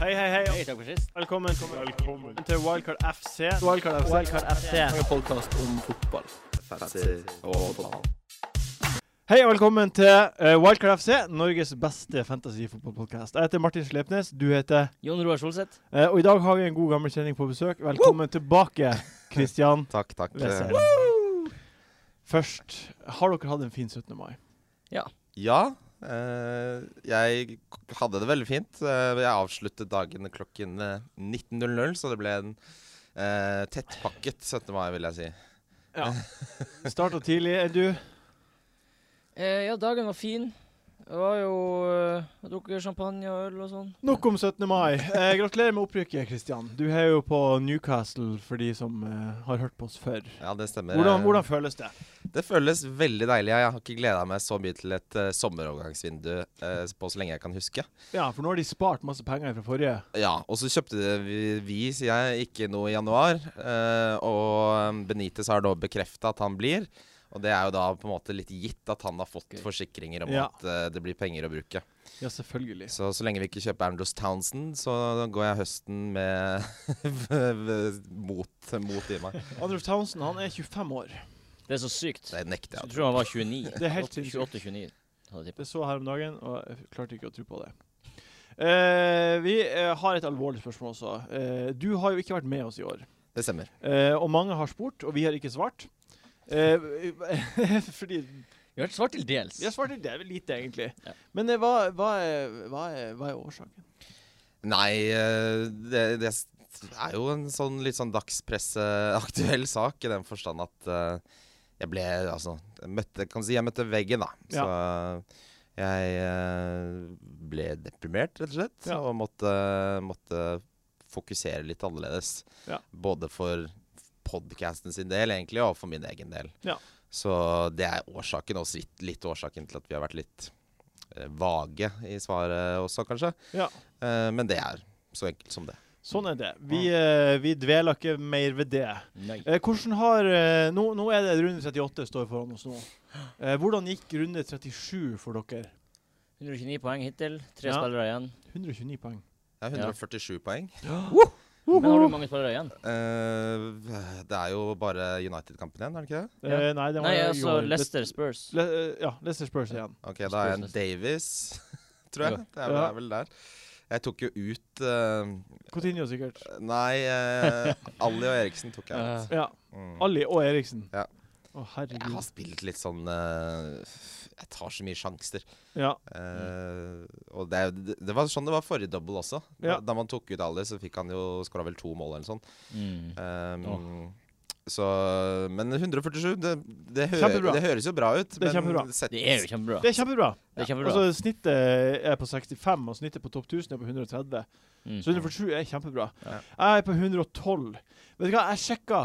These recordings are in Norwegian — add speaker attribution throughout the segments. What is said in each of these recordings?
Speaker 1: Hei, hei, hei.
Speaker 2: Hei, takk for sist.
Speaker 1: Velkommen, til Wildcard FC.
Speaker 3: Wildcard FC.
Speaker 1: Wildcard FC.
Speaker 3: En podkast om fotball.
Speaker 1: Hei og velkommen til eh, Wildcard FC, Norges beste fantasyfotballpodkast. Jeg heter Martin Slepnes, du heter
Speaker 2: Jon Roar Solseth.
Speaker 1: eh, Og i dag har vi en god gammel kjenning på besøk. Velkommen tilbake, Kristian
Speaker 4: Takk, takk.
Speaker 1: Wessel.
Speaker 4: Eh,
Speaker 1: Først, har dere hatt en fin 17. mai?
Speaker 4: Ja, eh, jeg k- hadde det veldig fint. Eh, Jeg avsluttet dagen klokken eh, 19.00, så det ble en eh, tettpakket 17. mai, vil jeg si.
Speaker 1: Ja. Starta tidlig, er du?
Speaker 2: Eh, ja, dagen var fin. Det var jo eh, Jeg drakk champagne og øl og sånn.
Speaker 1: Nok om 17. mai. Eh, gratulerer med opprykket, Kristian. Du er jo på Newcastle for de som eh, har hørt på oss før.
Speaker 4: Ja, det stemmer. Eh,
Speaker 1: Hvordan, hvordan føles det?
Speaker 4: Det føles veldig deilig. Jeg har ikke gleda meg så mye til et eh, sommerovergangsvindu eh, på så lenge jeg kan huske.
Speaker 1: Ja, for nå har de spart masse penger fra forrige.
Speaker 4: Ja, og så kjøpte vi, vi sier jeg, ikke noe i januar. eh, og Benitez har da bekrefta at han blir. Og det er jo da på en måte litt gitt at han har fått
Speaker 2: Gøy.
Speaker 4: forsikringer om
Speaker 1: Ja.
Speaker 4: at eh, det blir penger å bruke.
Speaker 1: Ja, selvfølgelig.
Speaker 4: Så så lenge vi ikke kjøper Andrews Townsend, så går jeg høsten med mot, mot i meg.
Speaker 1: Andrew Townsend han er 25 år.
Speaker 2: Det er så sykt.
Speaker 4: Det nekter
Speaker 2: Jeg
Speaker 4: jeg.
Speaker 2: tror han var 29.
Speaker 1: Det er helt sinnssykt.
Speaker 2: 28-29. hadde jeg tippet.
Speaker 1: Det så jeg her om dagen, og jeg klarte ikke å tro på det. Eh, vi eh, har et alvorlig spørsmål også. Eh, du har jo ikke vært med oss i år.
Speaker 4: Det stemmer.
Speaker 1: Eh, og mange har spurt, og vi har ikke svart. Eh, fordi
Speaker 2: Vi har vært svart til dels.
Speaker 1: Vi har svart til det, vel lite, egentlig.
Speaker 2: Ja.
Speaker 1: Men eh, hva, hva, er, hva, er, hva er årsaken?
Speaker 4: Nei, eh, det, det er jo en sånn litt sånn dagspresseaktuell sak, i den forstand at eh, jeg ble Altså, jeg møtte, kan du si jeg møtte veggen, da. Så jeg eh, ble deprimert, rett og slett,
Speaker 1: Ja.
Speaker 4: og måtte, måtte fokusere litt annerledes.
Speaker 1: Ja.
Speaker 4: Både for podcasten sin del, egentlig, og for min egen del.
Speaker 1: Ja.
Speaker 4: Så det er årsaken, og litt, litt årsaken til at vi har vært litt eh, vage i svaret også, kanskje.
Speaker 1: Ja.
Speaker 4: Eh, men det er så enkelt som det.
Speaker 1: Sånn er det. Vi, eh, vi dveler ikke mer ved det.
Speaker 2: Nei.
Speaker 1: Eh, hvordan har eh, nå, nå er det runde 38 står foran oss nå. Eh, hvordan gikk runde 37 for dere?
Speaker 2: 129 poeng hittil. Tre
Speaker 1: Ja.
Speaker 2: spillere igjen.
Speaker 1: 129 poeng.
Speaker 4: Det er 147 poeng.
Speaker 2: Men har du mange spillere igjen?
Speaker 4: Eh, det er jo bare United-kampen igjen, er det ikke det?
Speaker 1: Eh, nei, det var
Speaker 2: Nei,
Speaker 1: jo i
Speaker 2: altså
Speaker 1: år.
Speaker 2: Leicester Spurs.
Speaker 1: Le, eh, ja, Leicester Spurs igjen.
Speaker 4: Ok, da er
Speaker 2: Spurs
Speaker 4: en
Speaker 2: neste.
Speaker 4: Davis, tror jeg. Det er, vel-
Speaker 1: Ja.
Speaker 4: det er vel der. Jeg tok jo ut eh,
Speaker 1: Coutinho sikkert.
Speaker 4: Nei, eh, Ali og Eriksen tok jeg ut.
Speaker 1: Ja.
Speaker 4: Mm.
Speaker 1: Ali og Eriksen.
Speaker 4: Ja.
Speaker 1: Å,
Speaker 4: Jeg har
Speaker 1: herregud.
Speaker 4: spilt litt sånn eh, Jeg tar så mye sjanser.
Speaker 1: Ja.
Speaker 4: Eh, og det, er jo- det var sånn det var forrige double også.
Speaker 1: Ja.
Speaker 4: Da, da man tok ut Ali, så fikk han jo skåra vel to mål eller sånn. noe sånt.
Speaker 2: Mm.
Speaker 4: Um,
Speaker 2: Åh.
Speaker 4: Så Men 147, det, det, hø
Speaker 1: Kjempebra.
Speaker 4: det høres jo bra ut.
Speaker 1: Det er kjempebra.
Speaker 4: sett-
Speaker 2: Det er jo kjempebra.
Speaker 1: Det er kjempebra.
Speaker 2: Det er kjempebra.
Speaker 1: Altså, snittet er på 65, og snittet på topp 1000 er på 130.
Speaker 2: Mm.
Speaker 1: Så 147 er kjempebra.
Speaker 4: Ja.
Speaker 1: Jeg er på 112. Vet du hva, jeg sjekka.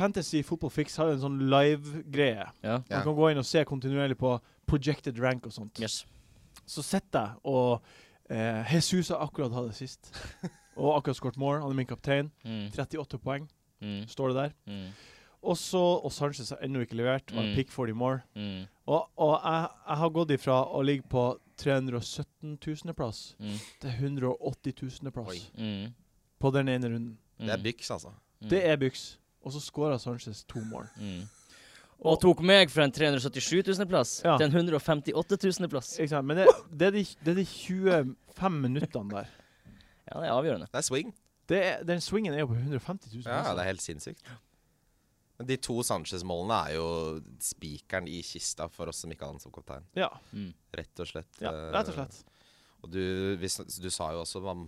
Speaker 1: Fantasy Football Fix har jo en sånn live-greie.
Speaker 2: Ja.
Speaker 1: Man
Speaker 4: Ja.
Speaker 1: kan gå inn og se kontinuerlig på projected rank og sånt.
Speaker 2: Yes.
Speaker 1: Så sitter jeg og eh, Jesus har akkurat hatt det sist. og akkurat skåret mål. Han er min kaptein.
Speaker 2: Mm.
Speaker 1: 38 poeng,
Speaker 2: Mm.
Speaker 1: står det der.
Speaker 2: Mm.
Speaker 1: Og så, og Sanchez har ennå ikke levert. Og
Speaker 2: Mm.
Speaker 1: en pick 40 more.
Speaker 2: Mm.
Speaker 1: Og, og jeg, jeg har gått ifra å ligge på 317 000. plass
Speaker 2: Mm.
Speaker 1: til 180 000. plass
Speaker 4: Oi.
Speaker 2: Mm.
Speaker 1: på den ene runden.
Speaker 4: Det er byks, altså.
Speaker 1: Det er byks. Og så skåra Sanchez to mål.
Speaker 2: Mm. Og tok meg fra en 377 000-plass
Speaker 1: Ja.
Speaker 2: til en 158 000-plass.
Speaker 1: Ikke sant? Men det, det, er de, det er de 25 minuttene der.
Speaker 2: Ja, det er avgjørende.
Speaker 4: Det er swing.
Speaker 1: Det er, den swingen er jo på 150 000.
Speaker 4: Ja,
Speaker 1: altså.
Speaker 4: det er helt sinnssykt. Men de to Sanchez-målene er jo spikeren i kista for oss som ikke har han som kaptein.
Speaker 1: ja,
Speaker 2: Mm.
Speaker 4: Rett og slett.
Speaker 1: ja,
Speaker 4: eh,
Speaker 1: rett og slett.
Speaker 4: Og du, hvis, du sa jo også man,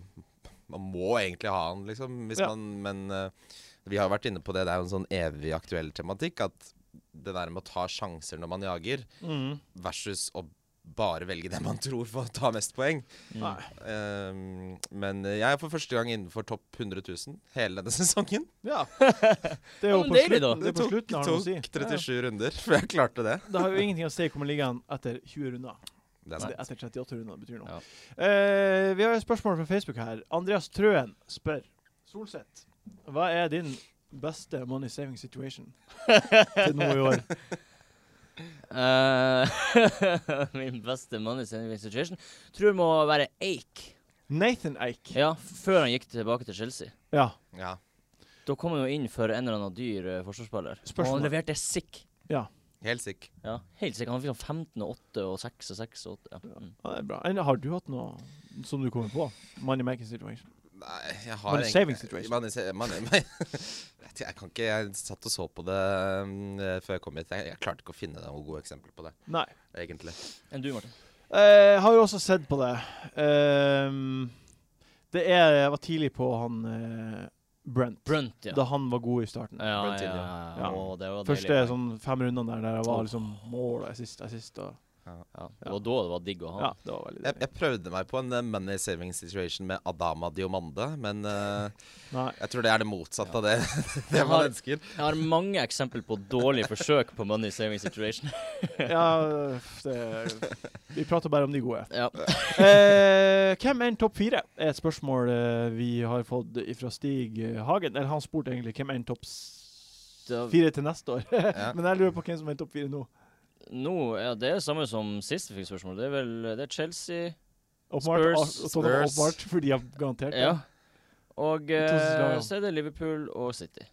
Speaker 4: man må egentlig ha han, liksom. Hvis
Speaker 1: Ja.
Speaker 4: man, men eh, vi har jo vært inne på det, det er jo en sånn evig aktuell tematikk at det der med å ta sjanser når man jager,
Speaker 1: Mhm.
Speaker 4: versus å bare velge det man tror for å ta mest poeng.
Speaker 2: Mm.
Speaker 1: Nei.
Speaker 4: Ehm, men jeg er for første gang innenfor topp 100 000 hele denne sesongen.
Speaker 1: Ja. Det er
Speaker 2: Ja,
Speaker 1: jo
Speaker 2: men
Speaker 1: på
Speaker 2: deilig, da.
Speaker 1: slutten, det er på
Speaker 4: tok,
Speaker 1: slutten har det noe å si.
Speaker 4: tok 37 runder før jeg klarte det.
Speaker 1: Ja. Det har jo ingenting å si hvor man ligger an etter 20 runder.
Speaker 4: Det er
Speaker 1: Så
Speaker 4: sant.
Speaker 1: det er Etter 38 runder det betyr noe.
Speaker 2: Ja.
Speaker 1: Eh, vi har et spørsmål fra Facebook her. Andreas Trøen spør Solseth, hva er din beste money saving situation til nå i år?
Speaker 2: Eh, min beste money saving situation tror det må være Ake.
Speaker 1: Nathan Eik.
Speaker 2: Ja, f- før han gikk tilbake til Chelsea.
Speaker 1: Ja.
Speaker 4: Ja.
Speaker 2: Da kom han jo inn for en eller annen dyr eh, forsvarsspiller. Og
Speaker 1: Spørsmål.
Speaker 2: han leverte sick.
Speaker 4: Helt sikk.
Speaker 2: Ja, helt sick. Han fikk sånn 15 og 8 og 6 og 6 og 8. Ja. Mm.
Speaker 1: ja, det er bra. Enn, har du hatt noe som du kommer på? Money making situation.
Speaker 4: Nei, jeg har
Speaker 1: Money
Speaker 4: egentlig-
Speaker 1: saving situation.
Speaker 4: Money sa- money- money- jeg kan ikke Jeg satt og så på det um, eh, før jeg kom hit. Jeg, jeg klarte ikke å finne noe gode eksempler på det,
Speaker 1: Nei.
Speaker 4: egentlig.
Speaker 2: Enn du, Martin?
Speaker 1: Eh, har jo også sett på det. Ehm, det er Jeg var tidlig på han eh, Brent,
Speaker 2: Brunt, ja.
Speaker 1: da han var god i starten.
Speaker 2: Ja, ja,
Speaker 4: Brunt
Speaker 2: ja,
Speaker 4: inn,
Speaker 2: ja.
Speaker 1: Ja.
Speaker 2: Å, det var
Speaker 1: Første
Speaker 2: deilig.
Speaker 1: sånn fem rundene der der jeg var
Speaker 2: Åh.
Speaker 1: liksom mål og assist, assist og sånn-
Speaker 2: Ja. Det var da det var digg å ha.
Speaker 1: Ja, det var veldig
Speaker 4: Jeg,
Speaker 1: deilig.
Speaker 4: jeg prøvde meg på en eh, money saving situation med Adama Diomande, men eh,
Speaker 1: Nei.
Speaker 4: jeg tror det er det motsatte av det, det
Speaker 2: Jeg har-
Speaker 4: man ønsker.
Speaker 2: Jeg har mange eksempel på dårlige forsøk på money saving situation.
Speaker 1: Ja, det, vi prater bare om de gode.
Speaker 2: Ja.
Speaker 1: Eh, hvem er en topp fire? er et spørsmål eh, vi har fått fra Stig eh, Hagen. Eller han spurte egentlig hvem er en topp s-
Speaker 2: Da-
Speaker 1: fire til neste år.
Speaker 4: Ja.
Speaker 1: Men jeg lurer på hvem som er en topp fire nå.
Speaker 2: Nå, ja, Det er det samme som sist vi fikk spørsmål. Det er vel det er Chelsea.
Speaker 1: Åpenbart,
Speaker 2: Spurs,
Speaker 1: og- og sånn
Speaker 4: Spurs.
Speaker 1: åpenbart, for de har garantert det.
Speaker 2: Ja. Og eh,
Speaker 1: To siste lag, ja.
Speaker 2: så er det Liverpool og City.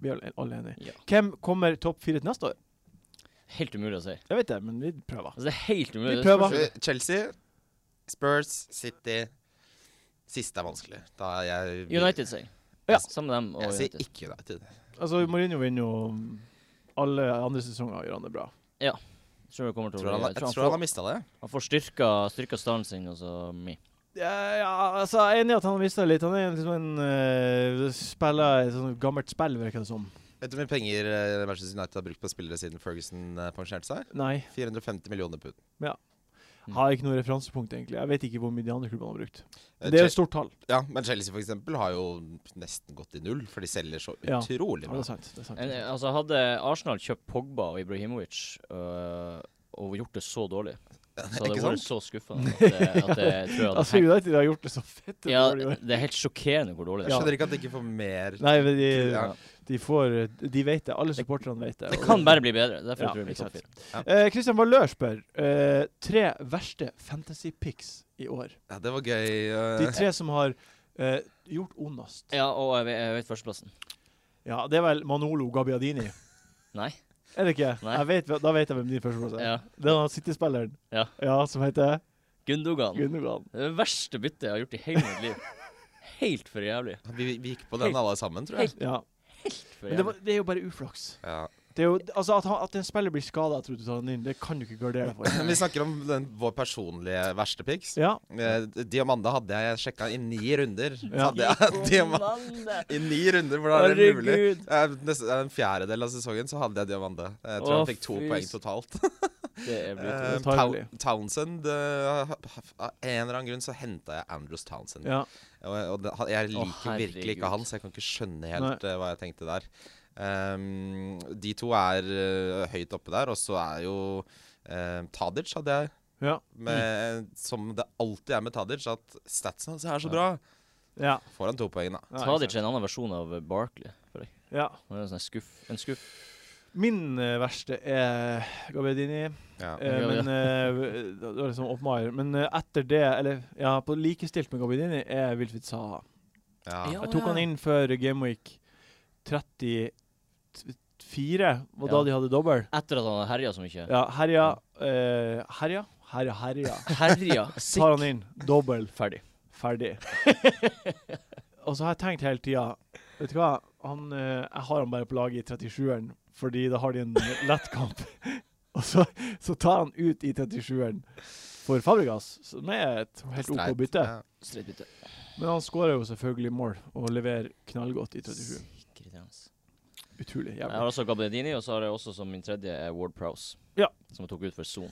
Speaker 1: Vi er alle enige.
Speaker 2: Ja.
Speaker 1: Hvem kommer topp fire til neste år?
Speaker 2: Helt umulig å si.
Speaker 1: Jeg vet det, men vi prøver.
Speaker 2: Altså, det er helt umulig.
Speaker 1: Vi
Speaker 2: Det er
Speaker 1: prøver.
Speaker 2: spørsmål-
Speaker 4: Chelsea, Spurs, City Siste er vanskelig. Da er jeg
Speaker 2: United, sier jeg.
Speaker 1: Ja.
Speaker 2: Sammen med dem og
Speaker 4: Jeg sier
Speaker 2: United.
Speaker 4: ikke United.
Speaker 1: Altså, Mourinho vinner jo mm, alle andre sesonger, gjør han det bra.
Speaker 2: Tror jeg kommer til å
Speaker 4: Jeg tror han,
Speaker 2: bli-
Speaker 4: jeg tror han
Speaker 2: får,
Speaker 4: har mista det.
Speaker 2: han får styrka, styrka stallen sin, og så mi.
Speaker 1: Ja, ja, altså, jeg er enig i at han har mista litt. Han er liksom en eh, spiller et sånt gammelt spill, virker det som.
Speaker 4: Vet du hvor mye penger eh, Manchester United har brukt på spillere siden Ferguson eh, pensjonerte seg?
Speaker 1: Nei.
Speaker 4: 450 millioner pund.
Speaker 2: Mm.
Speaker 1: Har ikke noe referansepunkt, egentlig. Jeg vet ikke hvor mye de andre klubbene har brukt. Men Det er jo et stort tall.
Speaker 4: Ja, men Chelsea for eksempel har jo nesten gått i null, for de selger så
Speaker 1: Ja.
Speaker 4: utrolig
Speaker 1: Ja,
Speaker 4: bra.
Speaker 1: det er sant. Det er sant.
Speaker 2: En, altså, hadde Arsenal kjøpt Pogba og Ibrahimovic øh, og gjort det så dårlig, så hadde
Speaker 4: Ikke
Speaker 2: jeg vært
Speaker 4: sant?
Speaker 2: så skuffende at, det- at jeg tror jeg hadde
Speaker 1: Altså, United har gjort det så fett.
Speaker 2: Ja,
Speaker 1: dårlig i år.
Speaker 2: det er helt sjokkerende hvor dårlig
Speaker 4: Jeg
Speaker 2: det
Speaker 1: Ja.
Speaker 2: er.
Speaker 4: skjønner ikke at de ikke får mer
Speaker 1: Nei, men de,
Speaker 4: Ja.
Speaker 1: de får De vet det. Alle supporterne vet det.
Speaker 2: Det
Speaker 1: og
Speaker 2: kan bare bli bedre. Derfor
Speaker 1: Ja,
Speaker 2: tror jeg det blir
Speaker 1: ikke
Speaker 2: topp
Speaker 1: sant.
Speaker 2: fire.
Speaker 1: Eh, Christian Valør spør eh, tre verste fantasy picks i år.
Speaker 4: Ja, det var gøy.
Speaker 1: De
Speaker 4: eh.
Speaker 1: tre som har eh, gjort ondest.
Speaker 2: Ja, og jeg vet, jeg vet førsteplassen.
Speaker 1: Ja, det er vel Manolo Gabbiadini.
Speaker 2: Nei.
Speaker 1: Er det ikke?
Speaker 2: Nei.
Speaker 1: Jeg vet, da vet jeg hvem din førsteplass er.
Speaker 2: Ja.
Speaker 1: Det er han City-spilleren
Speaker 2: Ja.
Speaker 1: som heter
Speaker 2: Gundogan.
Speaker 1: Gundogan.
Speaker 2: Det er det verste byttet jeg har gjort i hele mitt liv. Helt for jævlig.
Speaker 4: Vi, vi gikk på den alle sammen, tror jeg.
Speaker 1: Ja.
Speaker 2: For
Speaker 1: Men det,
Speaker 2: jævlig.
Speaker 1: var, det er jo bare uflaks.
Speaker 4: Ja.
Speaker 1: Det er jo, altså At, han, at en spiller blir skada etter at du tar han inn, det kan du ikke gardere deg for.
Speaker 4: Vi snakker om den, vår personlige verste picks.
Speaker 1: Ja,
Speaker 4: Eh, Diamanda hadde jeg sjekka i ni runder.
Speaker 1: Ja.
Speaker 4: Så Hadde jeg, Diamanda,
Speaker 2: Diamante.
Speaker 4: I ni runder, hvordan er det mulig?
Speaker 2: Herregud.
Speaker 4: Eh, Nesten eh, en fjerdedel av sesongen så hadde jeg Diamanda. Jeg tror
Speaker 2: Å,
Speaker 4: han fikk to
Speaker 2: fy
Speaker 4: poeng
Speaker 2: s-
Speaker 4: totalt.
Speaker 2: Det er brutalt.
Speaker 4: Eh,
Speaker 1: Det tar
Speaker 4: Tow
Speaker 1: jeg
Speaker 4: Townsend eh, ha- ha- Av en eller annen grunn så henta jeg Andrews Townsend.
Speaker 1: ja.
Speaker 4: Og, og det, han- jeg
Speaker 2: Å,
Speaker 4: liker virkelig
Speaker 2: herregud.
Speaker 4: ikke han, så jeg kan ikke skjønne helt eh, hva jeg tenkte der. Ehm, de to er eh, høyt oppe der, og så er jo eh, Tadic hadde jeg.
Speaker 1: ja.
Speaker 4: Med, Som det alltid er med Tadic, at statsen hans er så
Speaker 2: Ja.
Speaker 4: bra.
Speaker 1: ja.
Speaker 4: Får han to poeng, da.
Speaker 1: Nei,
Speaker 2: Tadic er en annen versjon av Barkley. For deg.
Speaker 1: ja.
Speaker 2: Han er en sånn skuff, en skuff.
Speaker 1: Min eh, verste er Gabbiadini.
Speaker 4: Ja.
Speaker 1: Eh, men eh, det var liksom Oppmaier. Men eh, etter det, eller ja, på likestilt med Gabbiadini, er Wilfried Saha.
Speaker 4: Ja.
Speaker 2: Ja.
Speaker 1: Jeg tok han inn før Gameweek 34, og da
Speaker 2: Ja.
Speaker 1: de hadde dobbel.
Speaker 2: Etter at han har herja så mye.
Speaker 1: Ja, herja, eh, herja, herja, herja.
Speaker 2: Herja.
Speaker 1: Tar
Speaker 2: Sikk.
Speaker 1: han inn, dobbel,
Speaker 2: Ferdig.
Speaker 1: ferdig. og så har jeg tenkt hele tida Vet du hva, han, eh, jeg har han bare på laget i 37-eren, fordi da har de en lettkamp. og så, så tar han ut i 37-eren for Fabregas, som er et helt OK
Speaker 4: Streit.
Speaker 1: bytte.
Speaker 4: Ja.
Speaker 2: Streit bytte.
Speaker 1: Men han skårer jo selvfølgelig mål og leverer knallgodt i 37.
Speaker 2: Sikkert irriterende.
Speaker 1: Utrolig
Speaker 2: Jeg
Speaker 1: jævlig.
Speaker 2: har også Gabbiadini, og så har jeg også som min tredje er Ward Prowse.
Speaker 1: Ja.
Speaker 2: Som jeg tok ut for Son.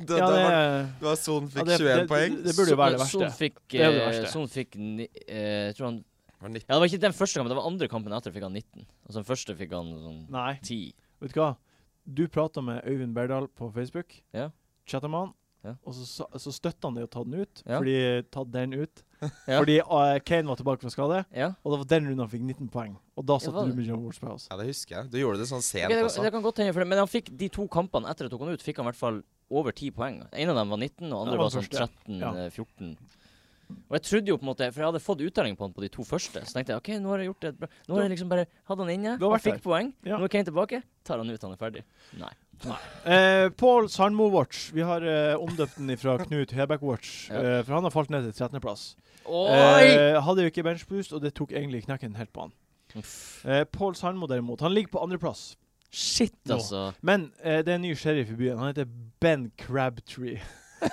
Speaker 4: Da,
Speaker 1: Ja,
Speaker 4: da
Speaker 1: det,
Speaker 4: var, da Son fikk
Speaker 1: ja, det-
Speaker 4: 21
Speaker 1: det-
Speaker 4: poeng.
Speaker 1: Det, det burde jo være det
Speaker 2: Son
Speaker 1: verste.
Speaker 2: fikk,
Speaker 1: Det er det
Speaker 2: eh,
Speaker 1: verste.
Speaker 2: Son fikk ni, eh, jeg tror han,
Speaker 4: Var 19.
Speaker 2: Ja, det var ikke den første kampen, det var andre kampen etter fikk han 19. Og så den første fikk han sånn
Speaker 1: Nei,
Speaker 2: 10.
Speaker 1: vet du hva? Du prata med Øyvind Berdal på Facebook.
Speaker 2: Ja.
Speaker 1: Chatta med han.
Speaker 2: Ja.
Speaker 1: Og så, sa- så støtta han det å ta den ut,
Speaker 2: Ja.
Speaker 1: fordi tatt den ut.
Speaker 2: Ja.
Speaker 1: Fordi eh, Kane var tilbake fra skade,
Speaker 2: Ja.
Speaker 1: og det var den runden han fikk 19 poeng. Og da
Speaker 2: Ja,
Speaker 1: satte
Speaker 2: var
Speaker 1: du
Speaker 2: det?
Speaker 1: mye om Wolfsburg også.
Speaker 4: Ja, det husker jeg. Du gjorde det sånn sent
Speaker 2: Ok, det,
Speaker 4: også.
Speaker 2: det kan godt hende, for det, men han fikk de to kampene etter jeg tok han ut, fikk han i hvert fall over 10 poeng. En av dem var 19, og
Speaker 1: Ja,
Speaker 2: andre
Speaker 1: han
Speaker 2: var sånn
Speaker 1: første.
Speaker 2: 13-14.
Speaker 1: Ja.
Speaker 2: Og jeg trodde jo på en måte, for jeg hadde fått uttelling på han på de to første. Så tenkte jeg ok, nå har jeg gjort det bra. Nå har jeg liksom bare hatt han inne,
Speaker 1: Du har
Speaker 2: han
Speaker 1: vært
Speaker 2: fikk poeng.
Speaker 1: Ja.
Speaker 2: Nå er Kane tilbake, tar han ut, han er ferdig. Nei.
Speaker 1: Eh, Pål Sandmo Watch. Vi har eh, omdøpt den fra Knut Hebekk Watch,
Speaker 2: Ja.
Speaker 1: eh, for han har falt ned til 13.-plass.
Speaker 2: Oi!
Speaker 1: Eh, hadde jo ikke benchboost, og det tok egentlig knekken helt på han. Eh, Pål Sandmo derimot, han ligger på andreplass.
Speaker 2: Shit,
Speaker 1: Nå.
Speaker 2: altså.
Speaker 1: Men eh, det er en ny sheriff i byen. Han heter Ben Crabtree.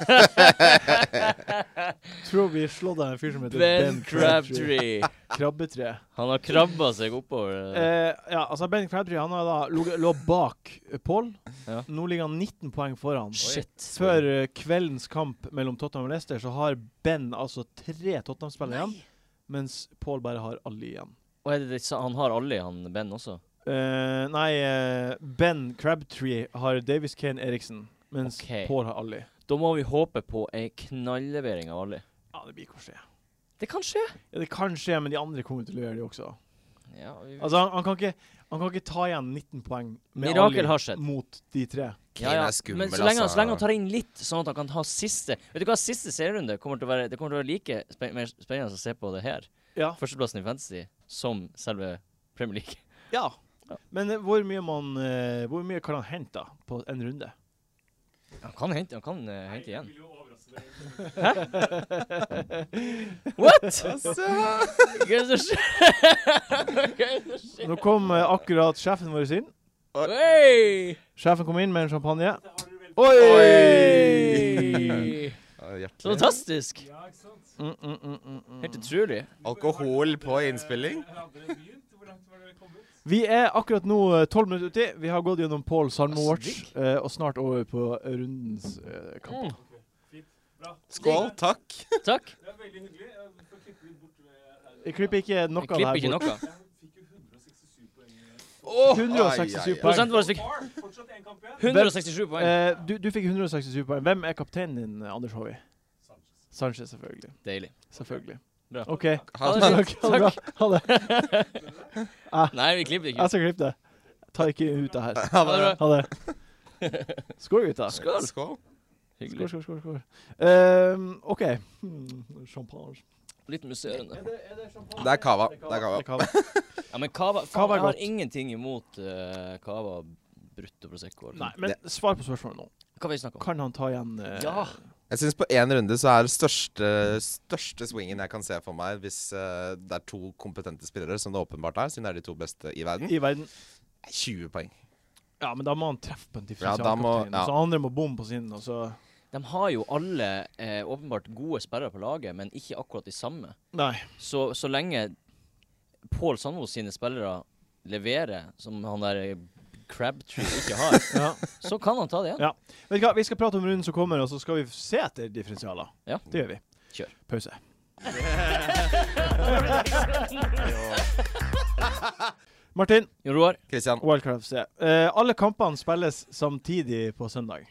Speaker 1: Tror vi slår deg en fyr som heter Ben,
Speaker 2: Ben Crabtree.
Speaker 1: Krabbetre.
Speaker 2: Han har krabba seg oppover.
Speaker 1: Eh, ja, altså Ben Crabtree han har da lå- lå bak eh, Paul.
Speaker 2: Ja.
Speaker 1: Nå ligger han 19 poeng foran.
Speaker 2: Shit.
Speaker 1: Før eh, kveldens kamp mellom Tottenham og Leicester så har Ben altså tre Tottenham-spillere igjen, mens Paul bare har alle igjen.
Speaker 2: Og er det, det sa- han har alle, i han Ben også.
Speaker 1: Eh, nei, eh, Ben Crabtree har Davis Kane Eriksen, mens
Speaker 2: Ok.
Speaker 1: Paul har alle.
Speaker 2: Da må vi håpe på ei knalllevering av alle.
Speaker 1: Ja, det blir ikke å skje.
Speaker 2: Det kan skje.
Speaker 1: Ja, det kan skje, men de andre kommer til å gjøre det også.
Speaker 2: Ja, vi,
Speaker 1: Altså, han, han, kan ikke, han kan ikke ta igjen 19 poeng med
Speaker 2: Mirakel
Speaker 1: Ali
Speaker 2: har skjedd.
Speaker 1: mot de tre.
Speaker 4: Kane er
Speaker 2: Men
Speaker 4: skummel,
Speaker 2: så lenge, han-
Speaker 4: altså.
Speaker 2: så lenge han tar inn litt, sånn at han kan ha siste Vet du hva, siste serierunde kommer til å være, det kommer til å være like spen mer spennende å se på det her,
Speaker 1: Ja.
Speaker 2: førsteplassen i Fantasy, som selve Premier League.
Speaker 1: ja. Men eh, hvor mye, man, eh, hvor mye kan han hente da, på en runde?
Speaker 2: Han kan hente, han kan eh, hente igjen. Hva er det som skjer? Hva er det som skjer?
Speaker 1: Nå kom eh, akkurat sjefen vår inn.
Speaker 2: Oi!
Speaker 1: Sjefen kom inn med en champagne.
Speaker 2: Oi!
Speaker 4: Ja,
Speaker 2: Så
Speaker 4: Hjertelig.
Speaker 2: fantastisk.
Speaker 1: Mm, mm, mm, mm, mm.
Speaker 2: Helt utrolig.
Speaker 4: Alkohol på innspilling.
Speaker 1: Vi er akkurat nå eh, 12 minutter uti. Vi har gått gjennom Paul Sandmo
Speaker 2: Altså,
Speaker 1: Watch, eh, og snart over på rundens eh, kamp.
Speaker 4: Skål. Takk.
Speaker 2: Mm, Takk.
Speaker 1: Jeg klipper ikke
Speaker 2: Jeg
Speaker 1: noe av det
Speaker 2: klipper
Speaker 1: her
Speaker 2: ikke
Speaker 1: bort.
Speaker 2: noe.
Speaker 4: Åh,
Speaker 1: 167
Speaker 4: ai, ai, ai.
Speaker 2: Prosenten vår fikk 167 poeng.
Speaker 1: Eh, du, du fikk 167 poeng. Hvem er kapteinen din, Anders Håvi? Sanchez, selvfølgelig.
Speaker 2: Deilig.
Speaker 1: Selvfølgelig.
Speaker 2: Bra.
Speaker 1: OK.
Speaker 4: Ha
Speaker 2: Ha
Speaker 4: det.
Speaker 2: det
Speaker 1: Takk.
Speaker 2: fint.
Speaker 1: Ha det.
Speaker 2: Takk.
Speaker 1: bra. Ha det.
Speaker 2: Nei, vi klipper ikke.
Speaker 1: Jeg skal klippe det. Ta ikke ut det her.
Speaker 4: Ha
Speaker 2: Ha det bra.
Speaker 1: Ha det. Skål, gutta. Skål,
Speaker 4: bra. Skål.
Speaker 2: Hyggelig.
Speaker 1: skål, skål. skål. Ehm, OK. Hmm, Champagne.
Speaker 2: Litt musserende.
Speaker 4: Det er cava. Det er cava.
Speaker 1: Det er kava.
Speaker 2: Ja, men cava,
Speaker 1: Cava er
Speaker 2: faen, jeg har
Speaker 1: godt.
Speaker 2: ingenting imot eh, cava brutto prosecco. eller
Speaker 1: Nei,
Speaker 2: noe.
Speaker 1: men svar på spørsmålet nå.
Speaker 2: Hva vi snakker om?
Speaker 1: Kan han ta igjen eh,
Speaker 2: Ja.
Speaker 4: Jeg syns på én runde så er største, største swingen jeg kan se for meg, hvis eh, det er to kompetente spillere, som det åpenbart er, siden det er de to beste i verden,
Speaker 1: i verden?
Speaker 4: er 20 poeng.
Speaker 1: Ja, men da må han treffe på en
Speaker 4: da må-
Speaker 1: differensialkaptein.
Speaker 4: ja.
Speaker 1: Så andre må bomme på sin, og så
Speaker 2: De har jo alle eh, åpenbart gode sperrer på laget, men ikke akkurat de samme.
Speaker 1: Nei.
Speaker 2: Så, så lenge Pål Sandmo sine spillere leverer, som han der eh, Crabtree ikke har,
Speaker 1: Ja.
Speaker 2: så kan han ta det igjen.
Speaker 1: Ja. Vet du hva, Vi skal prate om runden som kommer, og så skal vi se etter differensialer.
Speaker 2: Ja.
Speaker 1: Det gjør vi.
Speaker 2: Kjør.
Speaker 1: Pause. Martin,
Speaker 2: Jon Roar,
Speaker 4: Christian.
Speaker 1: Wildcard FC. Eh, alle kampene spilles samtidig på søndag.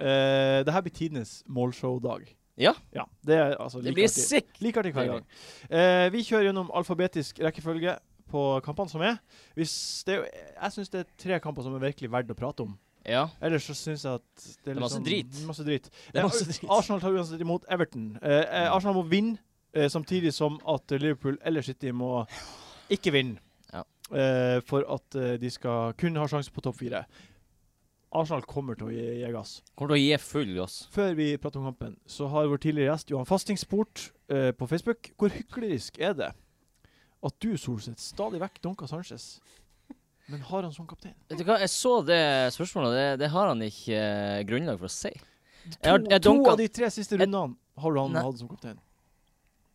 Speaker 1: Uh, det her blir tidenes målshow-dag.
Speaker 2: Ja.
Speaker 1: ja. Det er altså
Speaker 2: det
Speaker 1: like
Speaker 2: blir
Speaker 1: artig.
Speaker 2: sick!
Speaker 1: Like artig hver
Speaker 2: Det
Speaker 1: gang. Eh, vi kjører gjennom alfabetisk rekkefølge på kampene som er. Hvis det, er jo- jeg syns det er tre kamper som er virkelig verdt å prate om.
Speaker 2: Ja.
Speaker 1: Ellers så syns jeg at det er, litt
Speaker 2: masse
Speaker 1: sånn-
Speaker 2: drit.
Speaker 1: Masse drit.
Speaker 2: Det er masse
Speaker 1: Eh,
Speaker 2: drit. Mm.
Speaker 1: Arsenal tar uansett imot Everton. Eh, eh, Arsenal må vinne, eh, samtidig som at Liverpool eller City må ikke vinne.
Speaker 2: Ja.
Speaker 1: Eh, for at eh, de skal kun ha sjanse på topp fire. Arsenal kommer til å gi, gi gass.
Speaker 2: Kommer til å gi full gass.
Speaker 1: Før vi prater om kampen, så har vår tidligere gjest Johan Fastingsport eh, på Facebook. Hvor hyklerisk er det at du, Solseth, stadig vekk dunker Sanchez? Men har han som kaptein?
Speaker 2: Vet du hva, jeg så det spørsmålet, det, det har han ikke eh, grunnlag for å si.
Speaker 1: To,
Speaker 2: har- jeg
Speaker 1: to
Speaker 2: dunka-
Speaker 1: av de tre siste rundene har du han
Speaker 2: Nei.
Speaker 1: hatt som kaptein.